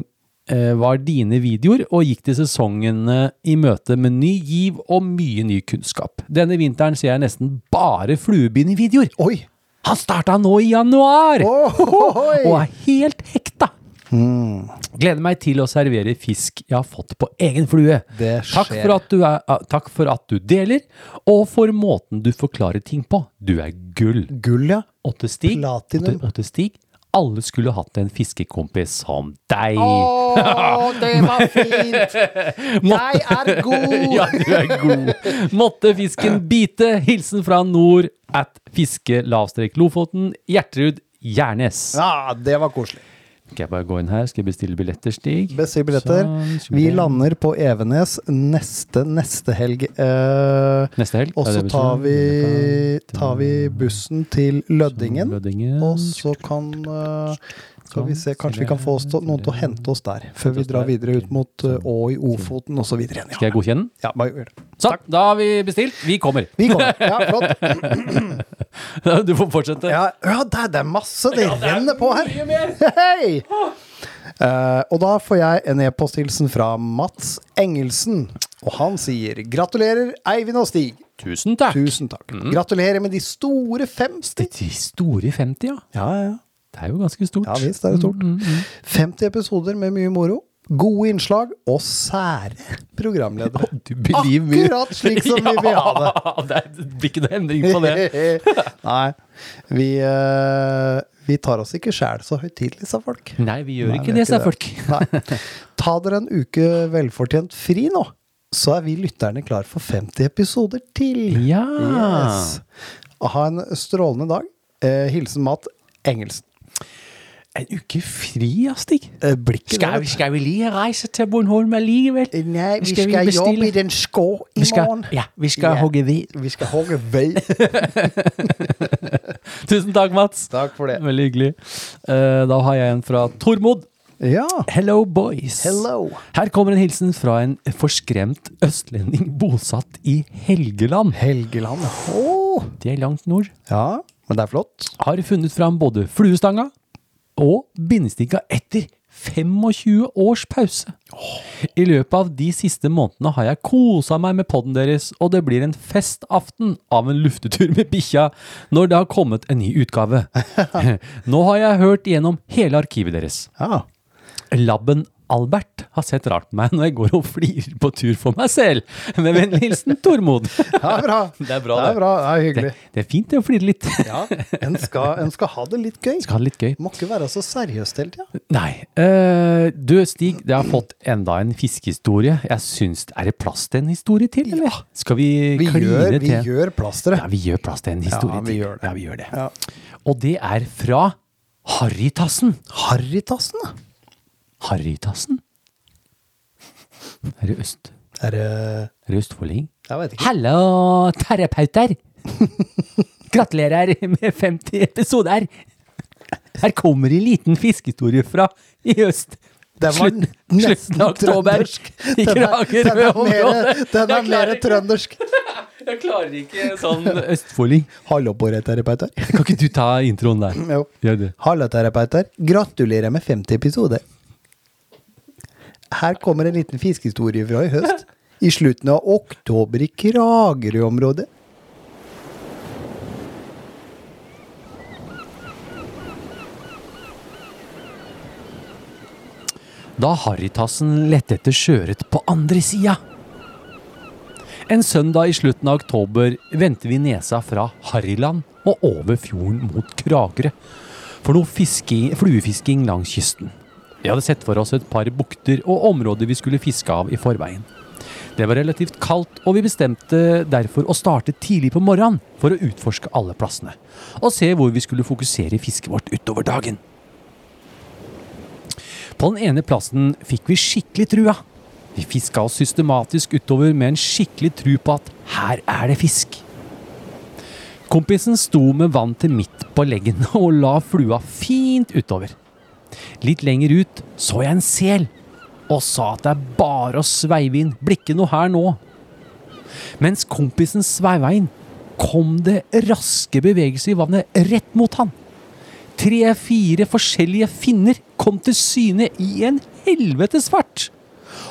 Speaker 1: eh, var dine videoer, og gikk til sesongene i møte med ny giv og mye ny kunnskap. Denne vinteren ser jeg nesten bare fluebindevideoer.
Speaker 5: Oi!
Speaker 1: Han starta nå i januar! og
Speaker 5: Oi.
Speaker 1: er helt hekta.
Speaker 5: Hmm.
Speaker 1: Gleder meg til å servere fisk jeg har fått på egen flue.
Speaker 5: Det
Speaker 1: Takk
Speaker 5: skjer.
Speaker 1: for, at du er, ah, takk for at du deler, og for måten du forklarer ting på. Du er gull.
Speaker 5: Gull, ja.
Speaker 1: Og til Stig, og
Speaker 5: Platinum.
Speaker 1: til, og til Stig alle skulle hatt en fiskekompis som deg.
Speaker 5: Å, det var fint! Jeg er god!
Speaker 1: Ja, du er god. Måtte fisken bite. Hilsen fra nord at fiske-lofoten. Gjertrud Gjernes.
Speaker 5: Ja, det var koselig.
Speaker 1: Skal jeg bare gå inn her? Skal jeg bestille billetter, Stig?
Speaker 5: Bestill billetter.
Speaker 1: Sånn, skal
Speaker 5: Vi
Speaker 1: det-
Speaker 5: lander på Evenes neste, neste helg. Eh,
Speaker 1: Neste helg?
Speaker 5: og
Speaker 1: er
Speaker 5: så
Speaker 1: det vi
Speaker 5: tar
Speaker 1: skal?
Speaker 5: vi, tar vi bussen til Lødingen.
Speaker 1: Lødingen.
Speaker 5: Og så kan eh, Skal vi se, kanskje vi kan få oss til, noen til å hente oss der. Før vi drar videre ut mot eh, Å i Ofoten osv. igjen.
Speaker 1: Skal
Speaker 5: Ja.
Speaker 1: jeg godkjenne den?
Speaker 5: Ja, bare gjør det.
Speaker 1: Sånn, da har vi bestilt. Vi kommer.
Speaker 5: Vi kommer. Ja, flott.
Speaker 1: Du får fortsette.
Speaker 5: Ja, ja det, er, det er masse. Det renner på her. Hei! Eh, og da får jeg en e-posthilsen fra Mats Engelsen. Og han sier 'Gratulerer, Eivind og Stig'.
Speaker 1: Tusen takk.
Speaker 5: Tusen takk. Gratulerer med de store 50.
Speaker 1: De store 50, ja.
Speaker 5: Ja, ja. Mm,
Speaker 1: Det er jo ganske stort.
Speaker 5: Ja visst, det er stort. 50 episoder med mye moro. Gode innslag og sære programledere.
Speaker 1: Du believe me.
Speaker 5: Akkurat slik som vi vil ha det.
Speaker 1: Ja, det er- det blir ikke noe endring på det.
Speaker 5: Nei. Vi, eh, Vi tar oss ikke sjæl så høytidelig, sa folk.
Speaker 1: Nei, vi gjør
Speaker 5: Nei,
Speaker 1: ikke
Speaker 5: vi
Speaker 1: det,
Speaker 5: gjør
Speaker 1: sa folk.
Speaker 5: ikke Nei. Ta dere en uke velfortjent fri nå, så er vi lytterne klar for 50 episoder til.
Speaker 1: Ja.
Speaker 5: Yes. Ha en strålende dag. Eh, hilsen Matt Engelsen.
Speaker 1: En uke fri, ja, Stig.
Speaker 5: Eh, blikket
Speaker 1: Skal vi, skal vi lige reise til Bornholm allikevel?
Speaker 5: Nei, vi
Speaker 1: Skal
Speaker 5: skal,
Speaker 1: vi bestille?
Speaker 5: jobbe i den skå i
Speaker 1: Vi skal,
Speaker 5: morgen.
Speaker 1: ja, vi skal
Speaker 5: Ja.
Speaker 1: hogge ved.
Speaker 5: Vi skal hogge vei.
Speaker 1: Tusen takk, Mats.
Speaker 5: Takk for det.
Speaker 1: Veldig hyggelig. Eh, Da har jeg en fra Tormod.
Speaker 5: Ja.
Speaker 1: Hello, boys.
Speaker 5: Hello.
Speaker 1: Her kommer en hilsen fra en forskremt østlending bosatt i Helgeland.
Speaker 5: Helgeland. Åh.
Speaker 1: Det er langt nord.
Speaker 5: Ja, men det er flott.
Speaker 1: Har funnet fram både fluestanga og bindestikka etter 25 års pause. I løpet av de siste månedene har jeg kosa meg med podden deres, og det blir en festaften av en luftetur med bikkja når det har kommet en ny utgave. Nå har jeg hørt gjennom hele arkivet deres.
Speaker 5: Ja.
Speaker 1: Labben Albert har sett rart på meg når jeg går og flirer på tur for meg selv. Med vennlig hilsen Tormod.
Speaker 5: Det er bra.
Speaker 1: Det er bra, det.
Speaker 5: det. er, bra. Det er hyggelig.
Speaker 1: Det, det er fint det å flire litt.
Speaker 5: Ja, en skal, en skal ha det litt gøy.
Speaker 1: Skal ha det litt gøy.
Speaker 5: Må ikke være så seriøs hele tida.
Speaker 1: Nei. eh, du, Stig, jeg har fått enda en fiskehistorie. Jeg syns Er det plass til en historie til, eller? Skal vi,
Speaker 5: Vi,
Speaker 1: kline
Speaker 5: gjør- vi
Speaker 1: til?
Speaker 5: gjør plasteret.
Speaker 1: Ja, vi gjør plass til en historie
Speaker 5: vi
Speaker 1: til.
Speaker 5: gjør det.
Speaker 1: Ja, vi gjør det.
Speaker 5: Ja.
Speaker 1: Og det er fra Harrytassen.
Speaker 5: Harrytassen, da.
Speaker 1: Harrytassen? Er det øst?
Speaker 5: Er det
Speaker 1: Er det østfolding?
Speaker 5: Jeg vet ikke.
Speaker 1: Hallo, terapeuter! Gratulerer med 50 episoder! Her kommer en liten fiskehistorie fra i øst.
Speaker 5: Den var
Speaker 1: Slutt-
Speaker 5: nesten
Speaker 1: slutten av oktober
Speaker 5: trøndersk.
Speaker 1: i
Speaker 5: Den er- den er mer,
Speaker 1: Kragerø-området.
Speaker 5: den
Speaker 1: Jeg
Speaker 5: er mer
Speaker 1: klarer ikke-
Speaker 5: trøndersk.
Speaker 1: Jeg klarer ikke sånn østfolding.
Speaker 5: Hallo på det, terapeuter.
Speaker 1: Kan ikke du ta introen der?
Speaker 5: Jo.
Speaker 1: Gjør det.
Speaker 5: Hallo, terapeuter. Gratulerer med 50 episoder. Her kommer en liten fiskehistorie fra i høst. I slutten av oktober i Kragerø-området.
Speaker 1: da Harrytassen lette etter sjøørret på andre sida. En søndag i slutten av oktober vendte vi nesa fra Harryland og over fjorden mot Kragerø for noe fiske, fluefisking langs kysten. Vi hadde sett for oss et par bukter og områder vi skulle fiske av i forveien. Det var relativt kaldt, og vi bestemte derfor å starte tidlig på morgenen for å utforske alle plassene og se hvor vi skulle fokusere fisket vårt utover dagen. På den ene plassen fikk vi skikkelig trua. Vi fiska oss systematisk utover med en skikkelig tru på at her er det fisk. Kompisen sto med vann til midt på leggen og la flua fint utover. Litt lenger ut så jeg en sel, og sa at det er bare å sveive inn, blir ikke noe her nå. Mens kompisen sveiva inn, kom det raske bevegelser i vannet rett mot han. Tre-fire forskjellige finner kom til syne i en helvetes fart.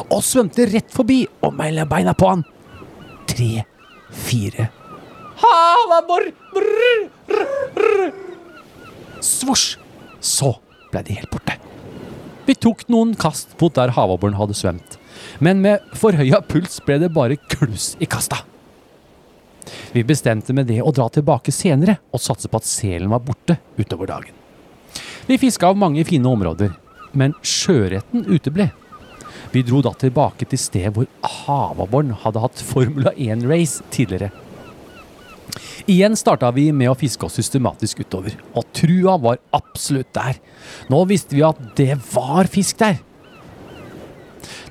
Speaker 1: Og svømte rett forbi og mellom beina på han. Tre-fire Havabor! Brr, brr, brr. Svosj! Så ble de helt borte. Vi tok noen kast mot der havabboren hadde svømt. Men med forhøya puls ble det bare kluss i kasta. Vi bestemte med det å dra tilbake senere og satse på at selen var borte utover dagen. Vi fiska av mange fine områder, men sjøørreten uteble. Vi dro da tilbake til stedet hvor havabboren hadde hatt Formula 1-race tidligere. Igjen starta vi med å fiske oss systematisk utover, og trua var absolutt der. Nå visste vi at det var fisk der.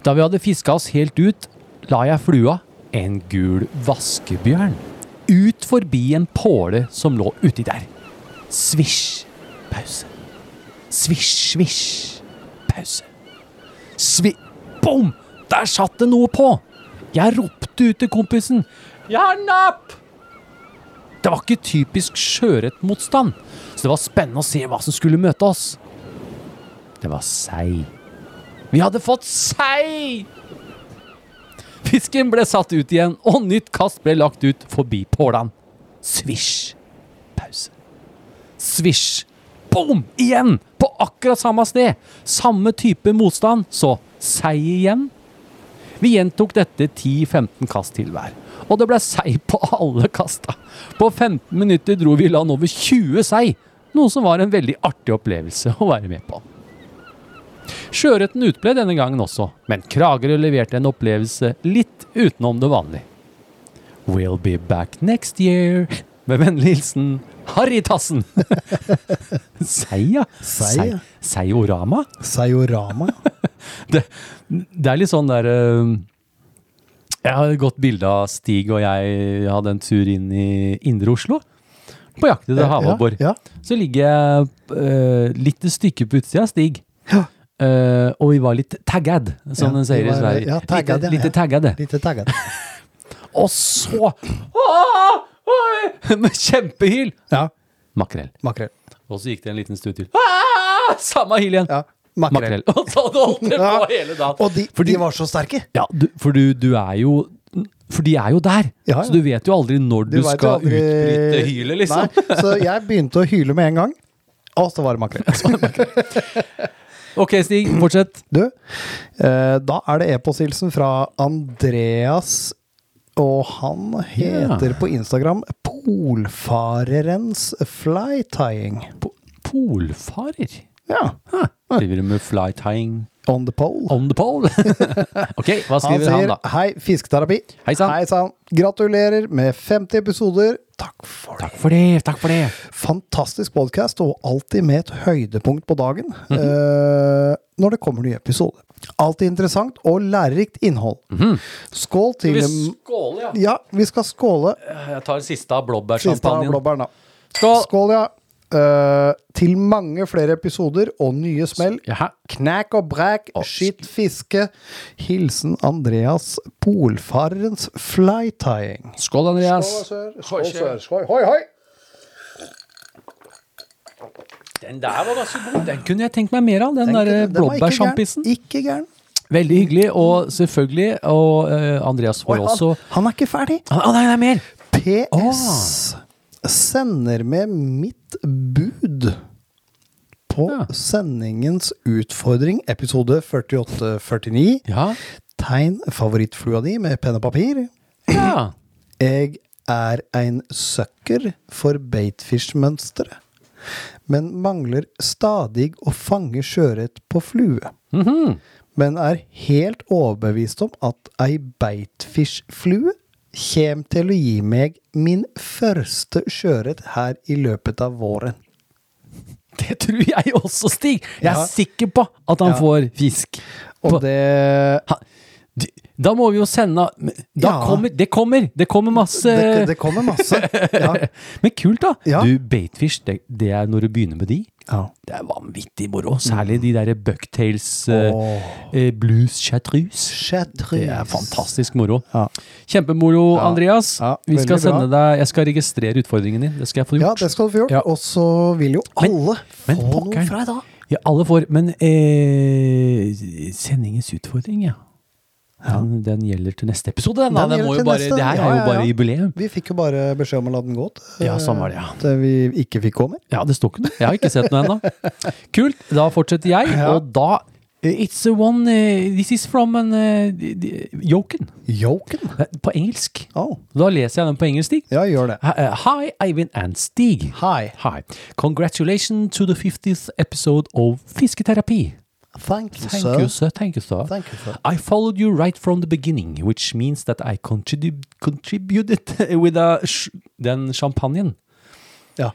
Speaker 1: Da vi hadde fiska oss helt ut, la jeg flua, en gul vaskebjørn, ut forbi en påle som lå uti der. Svisj, pause. Svisj, svisj, pause. Svi... Bom! Der satt det noe på! Jeg ropte ut til kompisen. Jeg har napp! Det var ikke typisk sjøørretmotstand, så det var spennende å se hva som skulle møte oss. Det var sei. Vi hadde fått sei! Fisken ble satt ut igjen, og nytt kast ble lagt ut forbi pålan. Svisj. Pause. Svisj. Boom! Igjen! På akkurat samme sted. Samme type motstand, så sei igjen. Vi gjentok dette 10-15 kast til hver, og det ble sei på alle kasta. På 15 minutter dro vi i land over 20 sei, noe som var en veldig artig opplevelse å være med på. Sjøørreten utble denne gangen også, men Kragerø leverte en opplevelse litt utenom det vanlige. We'll be back next year. Med vennlig hilsen Harry Tassen. Seia?
Speaker 5: Seia.
Speaker 1: Seiorama?
Speaker 5: Seiorama.
Speaker 1: Det, det er litt sånn der eh, Jeg har et godt bilde av Stig og jeg hadde en tur inn i Indre Oslo. På jakt etter havabbor.
Speaker 5: Eh, Ja,
Speaker 1: Så ligger jeg eh, litt stykke på utsida av Stig.
Speaker 5: Ja.
Speaker 1: Eh, og vi var litt taggad, som
Speaker 5: Ja,
Speaker 1: de sier
Speaker 5: vi
Speaker 1: i
Speaker 5: var-
Speaker 1: Sverige.
Speaker 5: ja, taggad, ja,
Speaker 1: Litt,
Speaker 5: ja.
Speaker 1: litt taggade.
Speaker 5: Lite tagget.
Speaker 1: Og så Åh! Oi! Med kjempehyl!
Speaker 5: Ja,
Speaker 1: Makrell.
Speaker 5: makrell.
Speaker 1: Og så gikk det en liten stund til. Ah! Samme hyl igjen.
Speaker 5: Ja, makrell.
Speaker 1: Makrell. Og så hadde holdt det på hele dagen.
Speaker 5: Og de,
Speaker 1: For
Speaker 5: de
Speaker 1: du-
Speaker 5: var så sterke.
Speaker 1: Ja, du, for du, du er jo For de er jo der.
Speaker 5: Ja, ja.
Speaker 1: Så du vet jo aldri når du,
Speaker 5: vet jo
Speaker 1: skal
Speaker 5: aldri-
Speaker 1: utbryte hylet, liksom.
Speaker 5: Nei, så jeg begynte å hyle med en gang, og så var det makrell.
Speaker 1: Ok, Stig, fortsett.
Speaker 5: Du, eh, da er det e-posthilsen fra Andreas, og han heter på Instagram Polfarerens flytying.
Speaker 1: Po- Polfarer?
Speaker 5: Ja.
Speaker 1: Driver du med flytying
Speaker 5: On the pole.
Speaker 1: on the pole? ok, hva
Speaker 5: Han
Speaker 1: skriver han,
Speaker 5: sier
Speaker 1: da?
Speaker 5: hei, fisketerapi.
Speaker 1: Hei sann.
Speaker 5: sann. Gratulerer med 50 episoder. Takk for det.
Speaker 1: Takk for det, takk for det.
Speaker 5: Fantastisk podkast, og alltid med et høydepunkt på dagen
Speaker 1: Mhm.
Speaker 5: eh, når det kommer ny episode. Alltid interessant og lærerikt innhold.
Speaker 1: Mhm.
Speaker 5: Skål til
Speaker 1: Vi skåler, ja.
Speaker 5: Ja, vi skal skåle.
Speaker 1: Jeg tar siste av
Speaker 5: Siste av
Speaker 1: blåbærsjampanjen.
Speaker 5: blåbæren, da.
Speaker 1: Eh, Skål!
Speaker 5: Skål, ja. Eh, til mange flere episoder og nye smell.
Speaker 1: Jaha.
Speaker 5: Knæk og bræk, skitt fiske. Hilsen Andreas Polfarerens flytying.
Speaker 1: Skål, Andreas.
Speaker 5: Skål, sør. Skål, hoi, hoi!
Speaker 1: Den der var ganske god. Den kunne jeg tenkt meg mer av, den, der
Speaker 5: Den-
Speaker 1: eh,
Speaker 5: den var ikke
Speaker 1: blåbærsjampisen.
Speaker 5: gæren. Ikke gæren.
Speaker 1: Veldig hyggelig, og selvfølgelig, og eh, Andreas
Speaker 5: Oi,
Speaker 1: får også
Speaker 5: han, han er ikke ferdig.
Speaker 1: Å nei, det er mer!
Speaker 5: PS sender med mitt bud på
Speaker 1: Ja.
Speaker 5: sendingens utfordring, episode 48-49.
Speaker 1: Ja.
Speaker 5: Tegn favorittflua di med penn og papir.
Speaker 1: ja.
Speaker 5: Jeg er en søkker for baitfish-mønsteret, men mangler stadig å fange sjøørret på flue.
Speaker 1: Mhm.
Speaker 5: Men er helt overbevist om at ei baitfish-flue kjem til å gi meg min første sjøørret her i løpet av våren.
Speaker 1: Det tror jeg også, Stig. Jeg er
Speaker 5: Ja.
Speaker 1: sikker på at han får fisk. På-
Speaker 5: Og det
Speaker 1: Ha- d- Da må vi jo sende men da
Speaker 5: Ja.
Speaker 1: kommer, Det kommer! Det kommer masse
Speaker 5: Det, det kommer masse. Ja.
Speaker 1: Men kult, da.
Speaker 5: Ja.
Speaker 1: Du, baitfish, det, det er når du begynner med de.
Speaker 5: ja.
Speaker 1: Det er vanvittig moro. Særlig de derre bucktails eh,
Speaker 5: Åh.
Speaker 1: eh, blues chartreuse.
Speaker 5: Chartreuse.
Speaker 1: Det er fantastisk moro.
Speaker 5: Ja.
Speaker 1: Kjempemoro,
Speaker 5: Ja.
Speaker 1: Andreas.
Speaker 5: Ja,
Speaker 1: vi skal
Speaker 5: veldig bra.
Speaker 1: sende deg Jeg skal registrere utfordringen din. Det skal jeg få
Speaker 5: Ja,
Speaker 1: gjort.
Speaker 5: det skal du få gjort.
Speaker 1: Ja.
Speaker 5: Og så vil jo
Speaker 1: Men-
Speaker 5: alle
Speaker 1: men
Speaker 5: få noe
Speaker 1: pokkeren.
Speaker 5: fra deg da.
Speaker 1: Ja, alle får. Men eh, sendingens utfordring, ja. Den, den gjelder til neste episode. Den, da.
Speaker 5: Den
Speaker 1: den må jo
Speaker 5: gjelder til
Speaker 1: bare,
Speaker 5: neste.
Speaker 1: det her
Speaker 5: Ja,
Speaker 1: er jo
Speaker 5: ja,
Speaker 1: bare
Speaker 5: ja.
Speaker 1: jubileum.
Speaker 5: Vi fikk jo bare beskjed om å la den gå. t-
Speaker 1: Ja, sånn var det, ja.
Speaker 5: At vi ikke fikk gå med.
Speaker 1: Ja, det står ikke noe. Jeg har ikke sett noe ennå. Kult. Da fortsetter jeg, og da eh, It's a one eh, This is from an eh, d- d- Joken.
Speaker 5: Yoken.
Speaker 1: Eh, På engelsk.
Speaker 5: Oh.
Speaker 1: Da leser jeg den på engelsk, Stig.
Speaker 5: Ja, gjør det.
Speaker 1: Hi, uh, hi, Eivind and Stig.
Speaker 5: Hi.
Speaker 1: Hi. Congratulations to the 50th episode of Fisketerapi.
Speaker 5: Thank you,
Speaker 1: Thank
Speaker 5: sir.
Speaker 1: you, sir. Thank you, sir.
Speaker 5: Thank you, sir.
Speaker 1: I followed you right from the beginning, which means that I contribu contributed with a sh den champagnen.
Speaker 5: Ja.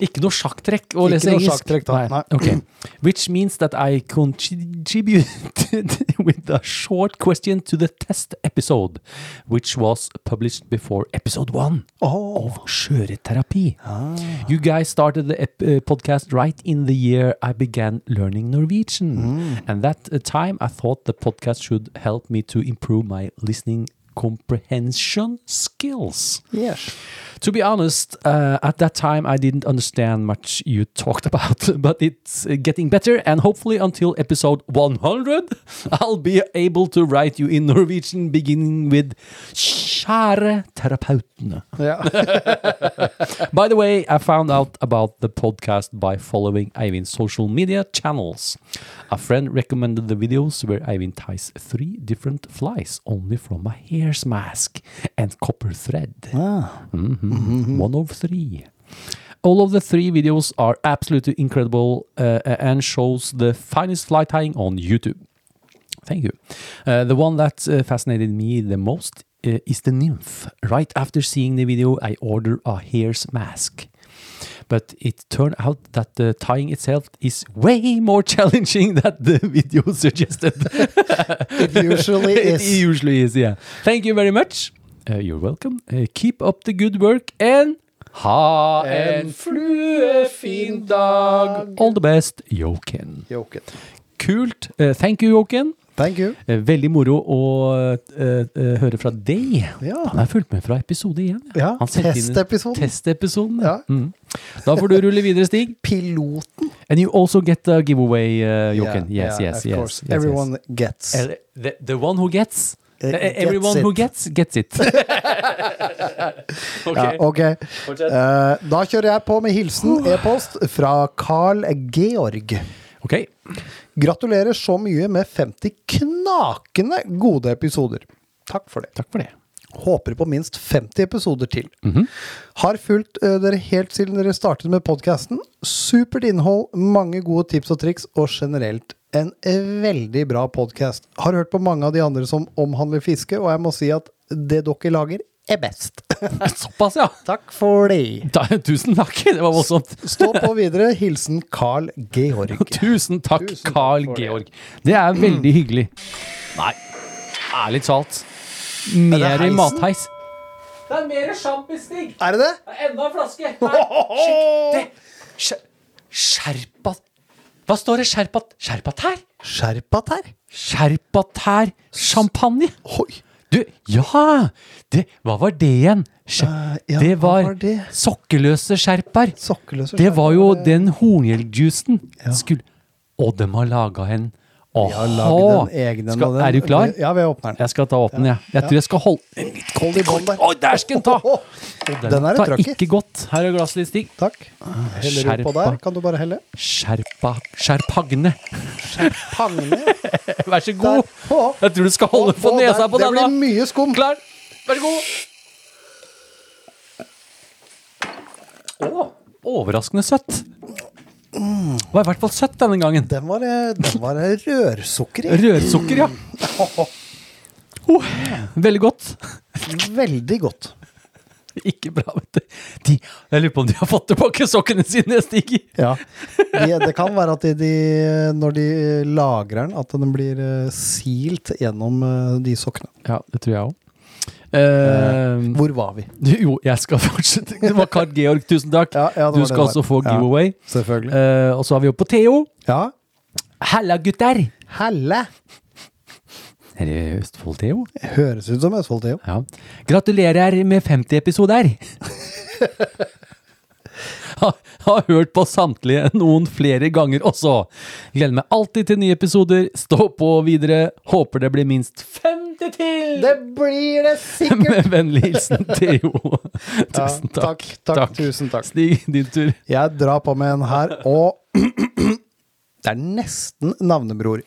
Speaker 1: Ikke noe sjakktrekk å
Speaker 5: Ikke
Speaker 1: lese
Speaker 5: noe
Speaker 1: engelsk.
Speaker 5: sjakktrekk, da. Nei.
Speaker 1: Ok. Which means that I contributed with a short question to the test episode, which was published before episode one
Speaker 5: Oh.
Speaker 1: of skjøreterapi.
Speaker 5: Ah.
Speaker 1: You guys started the ep- uh, podcast right in the year I began learning Norwegian. And that uh, time I thought the podcast should help me to improve my listening comprehension skills.
Speaker 5: Yes.
Speaker 1: To be honest, uh, at that time I didn't understand much you talked about, but it's uh, getting better, and hopefully until episode 100, I'll be able to write you in Norwegian, beginning with Kjære terapeutene.
Speaker 5: Ja.
Speaker 1: By the way, I found out about the podcast by following Eivin's social media channels. A friend recommended the videos where Eivin ties three different flies only from a hair's Ah. mask and copper thread. Mhm. One of Mm-hmm. three. All of the three videos are absolutely incredible uh, and shows the finest fly tying on YouTube. Thank you. Uh, the one that uh, fascinated me the most uh, is the nymph. Right after seeing the video, I ordered a hair's mask. But it turned out that the tying itself is way more challenging than the video suggested.
Speaker 5: It usually
Speaker 1: It
Speaker 5: is.
Speaker 1: usually is, yeah. Thank you very much. Uh, you're welcome. Uh, keep up the good work and ha en fluefin dag. All the best, Joken.
Speaker 5: Joken.
Speaker 1: Kult. Eh, thank you, Joken.
Speaker 5: Thank you.
Speaker 1: Eh, veldig moro å eh, eh, høre fra deg.
Speaker 5: Ja.
Speaker 1: Han har fulgt med fra episode én.
Speaker 5: Ja,
Speaker 1: Han sendte inn-
Speaker 5: testepisoden.
Speaker 1: Testepisoden.
Speaker 5: Ja.
Speaker 1: Mm. Da får du rulle videre, Stig.
Speaker 5: Piloten.
Speaker 1: And you also get a giveaway, uh, Joken. yes,
Speaker 5: yeah,
Speaker 1: yes,
Speaker 5: of
Speaker 1: yes,
Speaker 5: course.
Speaker 1: yes, yes.
Speaker 5: Everyone gets.
Speaker 1: Eller, the, the one who gets.
Speaker 5: Eh,
Speaker 1: Eh,
Speaker 5: gets
Speaker 1: everyone who
Speaker 5: it.
Speaker 1: gets, gets it. ok.
Speaker 5: Ja, ok. Eh, da kjører jeg på med hilsen e-post fra Carl Georg.
Speaker 1: ok.
Speaker 5: Gratulerer så mye med 50 knakende gode episoder. Takk for det.
Speaker 1: Takk for det. Mhm.
Speaker 5: Håper på minst 50 episoder til. Har fulgt eh, dere helt siden dere startet med podkasten. Supert innhold, mange gode tips og triks, og generelt en veldig bra podkast. Har hørt på mange av de andre som omhandler fiske, og jeg må si at det dere lager, er best.
Speaker 1: Såpass, ja.
Speaker 5: Takk for det.
Speaker 1: Da, tusen takk. Det var voldsomt.
Speaker 5: Stå på videre. Hilsen Carl Georg.
Speaker 1: Tusen takk,
Speaker 5: Tusen takk
Speaker 1: Carl
Speaker 5: for det.
Speaker 1: Georg. Det er veldig hyggelig. Nei, ærlig talt.
Speaker 5: Er det
Speaker 1: Mer
Speaker 5: heisen?
Speaker 1: matheis.
Speaker 6: Det er mer sjampistig!
Speaker 5: Er det det?
Speaker 6: Enda en flaske! Nei,
Speaker 1: Skjer- Skjerpat Hva står det? Skjerpat Skjerpatær?
Speaker 5: Skjerpatær?
Speaker 1: Skjerpatær-champagne.
Speaker 5: Oi.
Speaker 1: Du, ja! Det, hva var det igjen? Skje-
Speaker 5: Eh, ja,
Speaker 1: det
Speaker 5: hva
Speaker 1: var,
Speaker 5: var det?
Speaker 1: sokkeløse skjerper.
Speaker 5: Sokkeløse
Speaker 1: Det var
Speaker 5: skjerper, eh.
Speaker 1: jo
Speaker 5: det-
Speaker 1: den horngjelljuicen. Skulle Og dem har laga en.
Speaker 5: Vi har lagd en egen en
Speaker 1: Skal,
Speaker 5: av den.
Speaker 1: er du klar?
Speaker 5: Ja, vi åpner den.
Speaker 1: Jeg skal ta åpne, jeg. Jeg tror jeg skal holde en litt
Speaker 5: Hold i bånd der.
Speaker 1: Oi, der skal den ta!
Speaker 5: Ho, ho, ho. Den er
Speaker 1: tar
Speaker 5: det trøkk i.
Speaker 1: ikke godt. Her er glasset ditt, Stig.
Speaker 5: Takk. Heller du på
Speaker 1: Ah, Skjerpa.
Speaker 5: der? Kan du bare helle?
Speaker 1: Skjerpa Skjerpagne.
Speaker 5: Pangne.
Speaker 1: Vær så
Speaker 5: Der.
Speaker 1: god.
Speaker 5: Ho, ho.
Speaker 1: Jeg tror du skal holde på
Speaker 5: Å, der.
Speaker 1: nesa på
Speaker 5: Det
Speaker 1: denne.
Speaker 5: blir mye skum.
Speaker 1: Klar? Vær så god. Å, overraskende søtt. Det var i hvert fall søtt denne gangen.
Speaker 5: Den var, eh, den var eh, rørsukker i.
Speaker 1: Rørsukker, ja. Oh, veldig godt.
Speaker 5: Veldig godt.
Speaker 1: Ikke bra, vet du. De, jeg lurer på om de har fått tilbake sokkene sine, Stig.
Speaker 5: Ja. De, det kan være at de, de, når de lagrer den, at den blir eh, silt gjennom eh, de sokkene.
Speaker 1: Ja, det tror jeg òg. Eh,
Speaker 5: Hvor var vi?
Speaker 1: jo, jeg skal fortsette. Det var Karl Georg, tusen takk.
Speaker 5: Ja, ja,
Speaker 1: du
Speaker 5: det var det
Speaker 1: skal
Speaker 5: det
Speaker 1: også
Speaker 5: var.
Speaker 1: få
Speaker 5: Ja.
Speaker 1: giveaway.
Speaker 5: Selvfølgelig.
Speaker 1: Eh, og så har vi jo på Theo.
Speaker 5: Ja.
Speaker 1: Halla, gutter!
Speaker 5: Helle.
Speaker 1: Er det Østfold-Theo?
Speaker 5: Høres ut som Østfold, Theo.
Speaker 1: Ja. Gratulerer med 50 episoder! har, har hørt på samtlige noen flere ganger også. Gleder meg alltid til nye episoder. Stå på videre. Håper det blir minst 50 til!
Speaker 5: Det blir det sikkert!
Speaker 1: Med vennlig hilsen Theo. Tusen
Speaker 5: Ja,
Speaker 1: takk.
Speaker 5: takk, takk, tusen takk.
Speaker 1: Stig, din tur.
Speaker 5: Jeg drar på med en her, og det er nesten navnebror.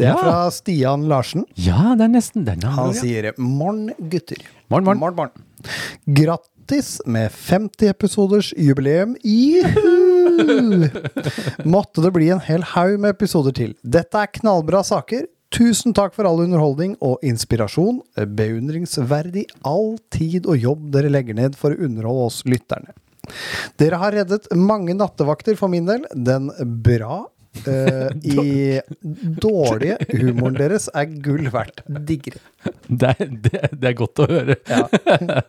Speaker 5: Det er
Speaker 1: Ja.
Speaker 5: fra Stian Larsen.
Speaker 1: Ja, det er nesten den. han går,
Speaker 5: Han
Speaker 1: ja.
Speaker 5: sier 'morn, gutter'.
Speaker 1: Morn, morn.
Speaker 5: Grattis med 50 episoders jubileum. Juhu! Måtte det bli en hel haug med episoder til. Dette er knallbra saker. Tusen takk for all underholdning og inspirasjon. Beundringsverdig all tid og jobb dere legger ned for å underholde oss lytterne. Dere har reddet mange nattevakter for min del. Den bra eh, i dårlige humoren deres er gull verdt. Digger.
Speaker 1: Det, er, det, det er godt å høre.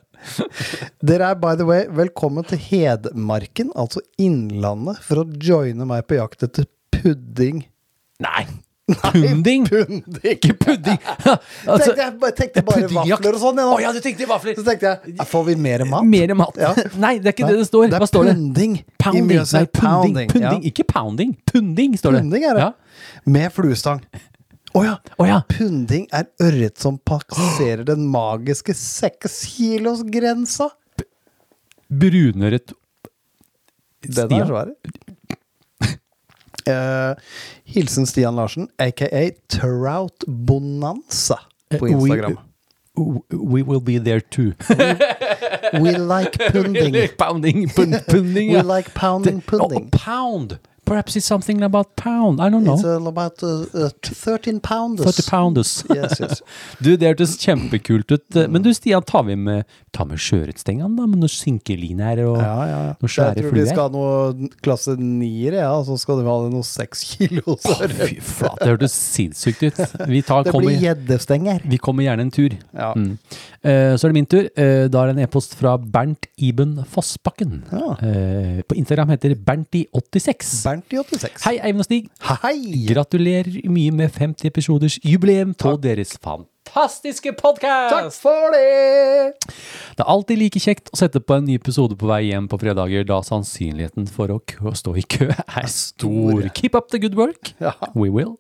Speaker 5: Dere er by the way velkommen til Hedmarken, altså Innlandet, for å joine meg på jakt etter pudding. Eh,
Speaker 1: Nei! Punding!
Speaker 5: Pudding!
Speaker 1: Ikke pudding! Altså,
Speaker 5: tenkte jeg, bare- tenkte bare
Speaker 1: puddingjakt.
Speaker 5: vafler og sånn. jeg nå.
Speaker 1: Å ja, du tenkte vafler!
Speaker 5: Så tenkte jeg, "Ja, får vi mer mat?
Speaker 1: Mer mat.
Speaker 5: Ja.
Speaker 1: Nei, det er ikke det det står.
Speaker 5: Det er
Speaker 1: Hva står det?
Speaker 5: punding.
Speaker 1: Pounding.
Speaker 5: I Mjøsa
Speaker 1: Nei,
Speaker 5: er
Speaker 1: punding.
Speaker 5: pounding,
Speaker 1: punding.
Speaker 5: ja.
Speaker 1: Ikke pounding. Punding, står det.
Speaker 5: Punding er det.
Speaker 1: Ja.
Speaker 5: Med fluestang. Å ja.
Speaker 1: Å ja.
Speaker 5: Punding er ørret som passerer den magiske sekskilosgrensa.
Speaker 1: Brunøret
Speaker 5: Den er svær. Eh, hilsen Stian Larsen, aka Trout Bonanza
Speaker 1: Eh,
Speaker 5: på
Speaker 1: oi.
Speaker 5: Instagram.
Speaker 1: w- We will be there too.
Speaker 5: We like punding.
Speaker 1: pounding, pun, punding.
Speaker 5: We
Speaker 1: yeah.
Speaker 5: like pounding
Speaker 1: The- oh,
Speaker 5: pudding.
Speaker 1: pound. Perhaps it's something about pound. I don't know.
Speaker 5: It's uh, about uh, uh, 13 pounders.
Speaker 1: 40 pounders.
Speaker 5: Yes, yes. Mm.
Speaker 1: Du, det hørtes kjempekult ut. Men du Stian, ta med, med, ta med sjøørretstengene da, med noen sinkeliner og
Speaker 5: Ja, ja, ja.
Speaker 1: noen
Speaker 5: Jeg
Speaker 1: svære
Speaker 5: tror de
Speaker 1: fluer.
Speaker 5: skal ha noe klasse nier, ja, og så skal de ha noe seks kilo.
Speaker 1: Å, fy flate, det hørtes sinnssykt ut. Vi, tar,
Speaker 5: Det blir
Speaker 1: kommer,
Speaker 5: gjeddestenger.
Speaker 1: vi kommer gjerne en tur.
Speaker 5: Ja.
Speaker 1: Mm. Eh, så er det min tur. Eh, da er det en e-post fra Bernt Iben Fossbakken.
Speaker 5: Ja.
Speaker 1: Eh, på Instagram heter Bernti86.
Speaker 5: Bernt i 86.
Speaker 1: Hei, Eivind og Stig.
Speaker 5: Hei!
Speaker 1: Gratulerer mye med 50 episoders jubileum på deres fantastiske
Speaker 5: Takk
Speaker 1: podkast!
Speaker 5: for det!
Speaker 1: Det er alltid like kjekt å sette på en ny episode på vei hjem på fredager, da sannsynligheten for å kø stå i kø er stor. Keep up the good work.
Speaker 5: Ja.
Speaker 1: We will.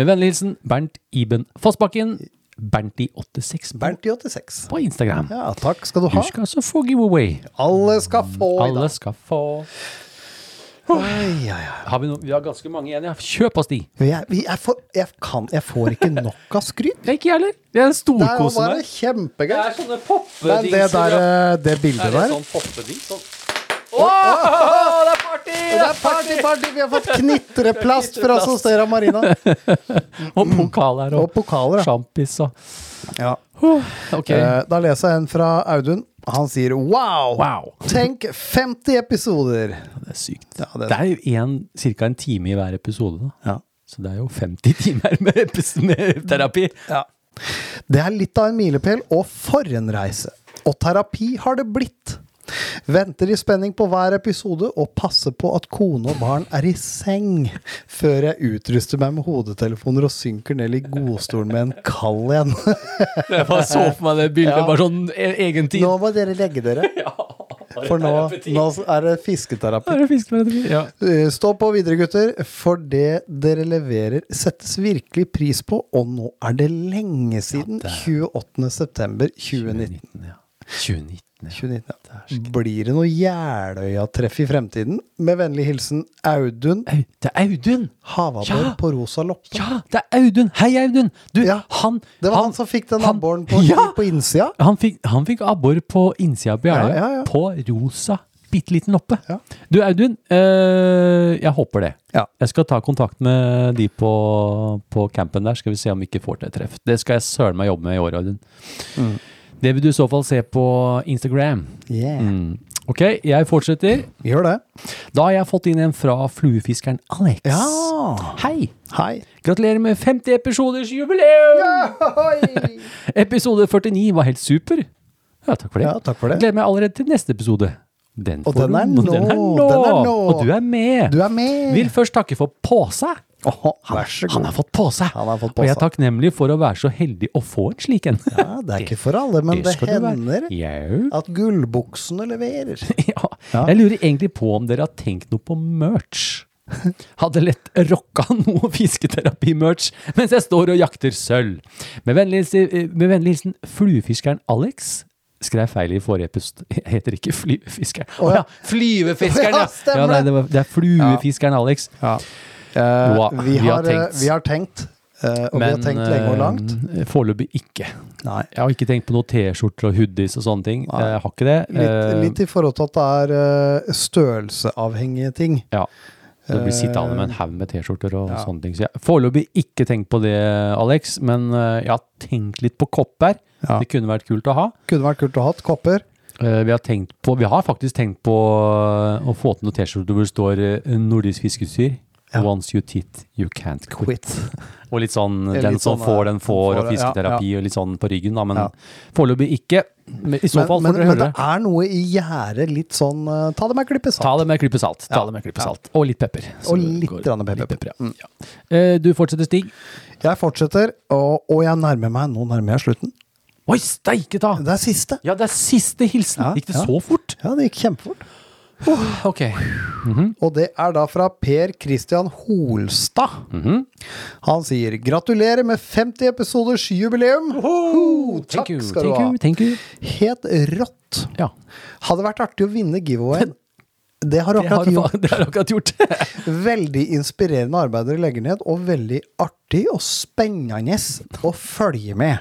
Speaker 1: Med vennlig hilsen Bernt Iben Fossbakken. Bernti86 på-
Speaker 5: Bernt i 86.
Speaker 1: på Instagram.
Speaker 5: Ja, takk skal du
Speaker 1: Du
Speaker 5: ha.
Speaker 1: skal altså få giveaway.
Speaker 5: Alle skal få i
Speaker 1: Alle
Speaker 5: dag.
Speaker 1: skal få.
Speaker 5: Ai, ai, ai.
Speaker 1: Har vi, noe? vi har ganske mange igjen. Ja. Kjøp oss de.
Speaker 5: Jeg, vi- jeg, får, jeg, kan, jeg får ikke nok av skryt.
Speaker 1: Det er ikke jeg heller. Det er en
Speaker 5: Det er jo
Speaker 1: storkose
Speaker 5: bare
Speaker 1: meg.
Speaker 5: kjempegøy.
Speaker 1: sånne
Speaker 5: Men
Speaker 1: poppedings.
Speaker 5: det, der, eh, det bildet der
Speaker 1: poppedings? Sånn. Åh, det er party!
Speaker 5: Det er party, party! Vi har fått knitreplast fra Sostera Marina.
Speaker 1: Og pokal her,
Speaker 5: Og
Speaker 1: og,
Speaker 5: pokaler. da.
Speaker 1: sjampis og
Speaker 5: Ja.
Speaker 1: Ok.
Speaker 5: Eh, Da leser jeg en fra Audun. Han sier wow!
Speaker 1: Wow.
Speaker 5: Tenk 50 episoder!
Speaker 1: det er sykt.
Speaker 5: Ja,
Speaker 1: det,
Speaker 5: det-
Speaker 1: er jo en, cirka en time i hver episode. Da.
Speaker 5: Ja.
Speaker 1: Så det er jo 50 timer med, epis- med terapi.
Speaker 5: Det er litt av en milepæl og for en reise. Og terapi har det blitt. Venter i spenning på hver episode og passer på at kone og barn er i seng før jeg utruster meg med hodetelefoner og synker ned i godstolen med en kald en.
Speaker 1: Jeg bare så for meg det bildet.
Speaker 5: Ja.
Speaker 1: Bare sånn e- egen tid.
Speaker 5: Nå må dere legge dere, for nå, nå er det fisketerapi.
Speaker 1: er det fisketerapi. Ja.
Speaker 5: Eh, Stå på videre, gutter, for det dere leverer settes virkelig pris på, og nå er det lenge siden
Speaker 1: 2019, ja.
Speaker 5: 28.9.2019.
Speaker 1: 2019. ja.
Speaker 5: 2019, ja. Blir det noe Jeløya-treff i fremtiden? Med vennlig hilsen Audun
Speaker 1: Au, Det er Audun!
Speaker 5: Havabbor
Speaker 1: Ja.
Speaker 5: på rosa loppe.
Speaker 1: Ja, det er Audun! Hei, Audun! Du,
Speaker 5: Ja,
Speaker 1: han
Speaker 5: Det var han, som fikk den
Speaker 1: han-
Speaker 5: abboren på,
Speaker 1: Ja!
Speaker 5: på innsida.
Speaker 1: Han fikk, han fikk abbor på innsida på Jeløya,
Speaker 5: Ja, ja, ja.
Speaker 1: på rosa, bitte liten loppe.
Speaker 5: Ja.
Speaker 1: Du Audun, eh, jeg håper det.
Speaker 5: Ja.
Speaker 1: Jeg skal ta kontakt med de på, på campen der, skal vi se om vi ikke får til et treff. Det skal jeg søren meg jobbe med i år, Audun.
Speaker 5: Mm.
Speaker 1: Det vil du i så fall se på Instagram.
Speaker 5: Yeah.
Speaker 1: Mm. Ok, jeg fortsetter.
Speaker 5: Gjør det.
Speaker 1: Da har jeg fått inn en fra fluefiskeren Alex. Hei!
Speaker 5: Hei.
Speaker 1: Gratulerer med 50 episoders jubileum! Episode 49 var helt super. Ja, takk for det.
Speaker 5: Ja, takk for det.
Speaker 1: Gleder meg allerede til neste episode. Den
Speaker 5: Og
Speaker 1: får
Speaker 5: den
Speaker 1: du-
Speaker 5: er nå,
Speaker 1: Den er nå.
Speaker 5: den er nå.
Speaker 1: Og du er med.
Speaker 5: Du er med.
Speaker 1: Vil først takke for påse.
Speaker 5: Åhå, vær så
Speaker 1: Han
Speaker 5: god.
Speaker 1: har fått påse.
Speaker 5: Han har fått
Speaker 1: Og jeg er
Speaker 5: påse.
Speaker 1: takknemlig for å være så heldig å få en slik en.
Speaker 5: Ja, det er ikke for alle, men det,
Speaker 1: skal du være.
Speaker 5: hender
Speaker 1: Jau.
Speaker 5: at gullbuksene leverer.
Speaker 1: Ja. Jeg lurer egentlig på om dere har tenkt noe på merch. Hadde lett rocka noe fisketerapi-merch mens jeg står og jakter sølv. Med vennlig hilsen, med vennlig hilsen fluefiskeren Alex. Skrev feil i forrige episode. Jeg heter ikke fluefiskeren. Å ja, flyvefiskeren!
Speaker 5: Ja,
Speaker 1: Ja,
Speaker 5: stemmer
Speaker 1: ja nei,
Speaker 5: det.
Speaker 1: det, var, det er fluefiskeren Alex.
Speaker 5: Eh,
Speaker 1: Joa,
Speaker 5: vi, har, eh, vi har tenkt, eh, og vi har tenkt lenge og langt.
Speaker 1: eh, foreløpig ikke.
Speaker 5: Nei.
Speaker 1: Jeg har ikke tenkt på noen T-skjorter og hoodies og sånne ting.
Speaker 5: Nei.
Speaker 1: Jeg har ikke det.
Speaker 5: Litt,
Speaker 1: Eh,
Speaker 5: litt i forhold til at det er eh, størrelseavhengige ting.
Speaker 1: Ja. Så du
Speaker 5: Eh,
Speaker 1: blir sittende med en haug med T-skjorter og sånne ting. Så jeg har foreløpig ikke tenkt på det, Alex, men eh, jeg har tenkt litt på kopper.
Speaker 5: Ja.
Speaker 1: Det kunne vært kult å ha.
Speaker 5: Kunne vært kult å ha hatt kopper.
Speaker 1: Eh, Vi har, tenkt på, vi har faktisk tenkt på eh, å få til noen T-skjorter hvor det står eh, 'Nordisk fiskeutstyr'.
Speaker 5: Ja.
Speaker 1: Once you tit, you can't quit.
Speaker 5: Quit.
Speaker 1: Og litt sånn
Speaker 5: Litt
Speaker 1: 'den som
Speaker 5: sånn,
Speaker 1: får,
Speaker 5: eh,
Speaker 1: den får', og
Speaker 5: får det, ja,
Speaker 1: fisketerapi og litt sånn på ryggen, da. Men
Speaker 5: Ja.
Speaker 1: foreløpig ikke. Men I så
Speaker 5: Men,
Speaker 1: fall
Speaker 5: men,
Speaker 1: får dere
Speaker 5: men
Speaker 1: høre
Speaker 5: det er noe i gjerdet litt sånn eh, Ta det med en klype salt.
Speaker 1: Ta det med en klype salt. Ta
Speaker 5: Ja.
Speaker 1: det med en klype
Speaker 5: Ja.
Speaker 1: salt. Og litt pepper. Så
Speaker 5: Og
Speaker 1: det
Speaker 5: litt
Speaker 1: går-
Speaker 5: grann pepper.
Speaker 1: ja. Eh, Du fortsetter, Stig.
Speaker 5: Jeg fortsetter, og, og jeg nærmer meg. Nå nærmer jeg slutten.
Speaker 1: Oi, steike ta!
Speaker 5: Det er siste.
Speaker 1: Ja, det er siste hilsen.
Speaker 5: Ja,
Speaker 1: Gikk det
Speaker 5: ja.
Speaker 1: så fort?
Speaker 5: Ja, det gikk kjempefort.
Speaker 1: Ok.
Speaker 5: Og det er da fra Per Christian Holstad.
Speaker 1: Mhm.
Speaker 5: Han sier 'Gratulerer med 50 episoders jubileum'. Ho,
Speaker 1: Thank
Speaker 5: takk
Speaker 1: you,
Speaker 5: skal du
Speaker 1: thank
Speaker 5: ha.
Speaker 1: you, thank you.
Speaker 5: Helt rått.
Speaker 1: Ja.
Speaker 5: Hadde vært artig å vinne giveawayen. Det har du
Speaker 1: Det har,
Speaker 5: akkurat
Speaker 1: du-
Speaker 5: gjort.
Speaker 1: det har du akkurat gjort.
Speaker 5: Veldig inspirerende arbeid dere legger ned, og veldig artig og spennende å følge med.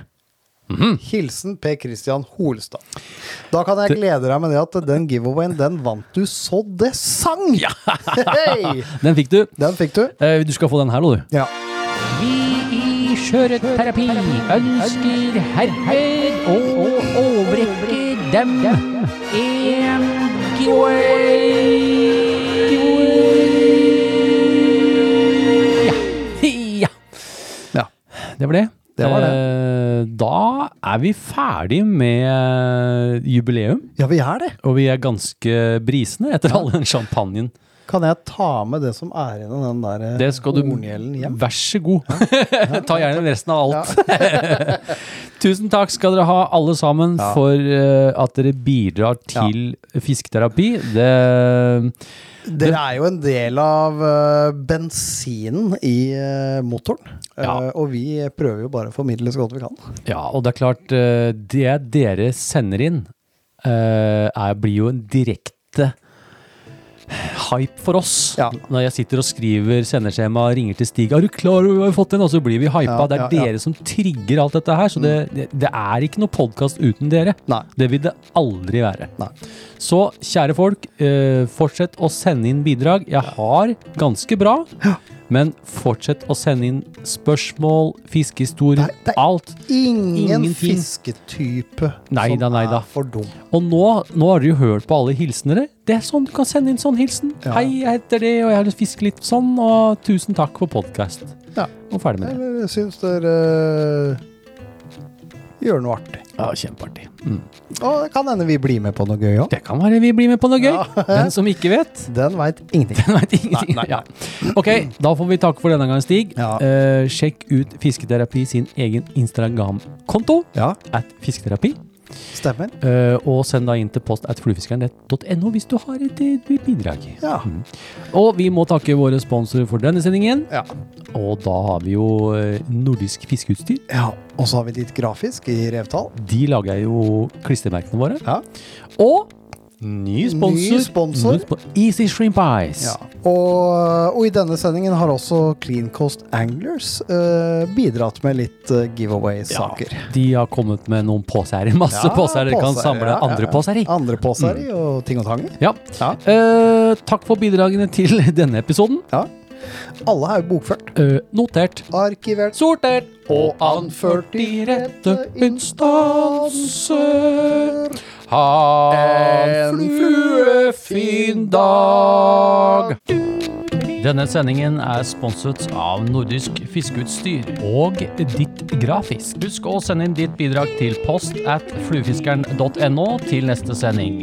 Speaker 1: Mhm.
Speaker 5: Hilsen Per Christian Holstad. Da kan jeg glede deg med det at den giveawayen, den vant du så det sang! Hei!
Speaker 1: Den fikk du.
Speaker 5: Den fikk du.
Speaker 1: Eh, Du skal få den her nå, du.
Speaker 5: Ja.
Speaker 1: Vi i Skjøreterapi ønsker herved å overrekke dem en giveaway. Ja.
Speaker 5: Ja.
Speaker 1: Det var det.
Speaker 5: Det var det.
Speaker 1: Eh, Da er vi ferdig med jubileum,
Speaker 5: ja, vi er det.
Speaker 1: og vi er ganske brisende etter all den champagnen.
Speaker 5: Kan jeg ta med det som er igjen av den der eh,
Speaker 1: Det skal du
Speaker 5: horngjelden hjem?
Speaker 1: Vær så god. Ta gjerne resten av alt. Tusen takk skal dere ha, alle sammen, for eh, at dere bidrar til fisketerapi. Det
Speaker 5: Dere er jo en del av eh, bensinen i eh, motoren. Eh,
Speaker 1: Ja.
Speaker 5: og vi prøver jo bare å formidle så godt vi kan.
Speaker 1: Ja, og det er klart, eh, det dere sender inn, eh, er, blir jo en direkte hype for oss.
Speaker 5: Ja.
Speaker 1: Når jeg sitter og skriver sendeskjema, ringer til Stig, er du klar over hva vi har fått inn? Og så blir vi hypa.
Speaker 5: Ja,
Speaker 1: det er
Speaker 5: ja, ja.
Speaker 1: dere som trigger alt dette her, så det, det, det er ikke noe podkast uten dere.
Speaker 5: Nei.
Speaker 1: Det vil det aldri være.
Speaker 5: Nei.
Speaker 1: Så kjære folk, eh, fortsett å sende inn bidrag. Jeg har ganske bra, men fortsett å sende inn spørsmål, fiskehistorier,
Speaker 5: Nei, det er-
Speaker 1: alt.
Speaker 5: Ingen
Speaker 1: Ingenting.
Speaker 5: fisketype
Speaker 1: Neida,
Speaker 5: som
Speaker 1: neida.
Speaker 5: er for dum.
Speaker 1: Og nå, nå har dere jo hørt på alle hilsenere. Det er sånn du kan sende inn sånn hilsen.
Speaker 5: Ja.
Speaker 1: Hei, jeg heter det, og jeg har lyst til å fiske litt sånn, og tusen takk for podkast.
Speaker 5: Ja.
Speaker 1: Og ferdig med det.
Speaker 5: Eller jeg syns dere eh, gjør noe artig.
Speaker 1: Ja, Kjempeartig.
Speaker 5: Og det kan hende vi blir med på noe gøy òg.
Speaker 1: Det kan være vi blir med på noe gøy. Den som ikke vet,
Speaker 5: Den veit ingenting.
Speaker 1: den veit ingenting. Ja. Ok, da får vi takke for denne gang, Stig.
Speaker 5: Ja.
Speaker 1: Eh, sjekk ut Fisketerapi sin egen Instagram-konto,
Speaker 5: Ja,
Speaker 1: at fisketerapi.
Speaker 5: stemmer.
Speaker 1: Eh, og send da inn til post at fluefiskeren.no hvis du har et, eh, bidrag. Mm.
Speaker 5: Ja.
Speaker 1: Og vi må takke våre sponsorer for denne sendingen.
Speaker 5: Ja.
Speaker 1: Og da har vi jo eh, nordisk fiskeutstyr.
Speaker 5: ja. Og så har vi litt grafisk i revtall.
Speaker 1: De lager jo klistremerkene våre.
Speaker 5: Ja.
Speaker 1: Og ny sponsor.
Speaker 5: Ny sponsor.
Speaker 1: spo- Easy Shrimp Eyes.
Speaker 5: Ja. Og, og i denne sendingen har også Clean Cost Anglers eh, bidratt med litt eh, giveaway-saker.
Speaker 1: De har kommet med noen poser. Masse
Speaker 5: Ja,
Speaker 1: poser dere kan samle
Speaker 5: ja, ja,
Speaker 1: andre
Speaker 5: ja.
Speaker 1: poser i.
Speaker 5: Andre poser i, og ting og tang i.
Speaker 1: Ja.
Speaker 5: Mm. Ja.
Speaker 1: Eh, takk for bidragene til denne episoden.
Speaker 5: Ja. Alle er jo bokført,
Speaker 1: Eh, notert,
Speaker 5: arkivert
Speaker 1: sortert
Speaker 5: og anført
Speaker 1: de rette instanser. Ha en fluefin dag! Denne sendingen er sponset av Nordisk Fiskeutstyr og Ditt Grafisk. Husk å sende inn ditt bidrag til post at fluefiskeren.no til neste sending.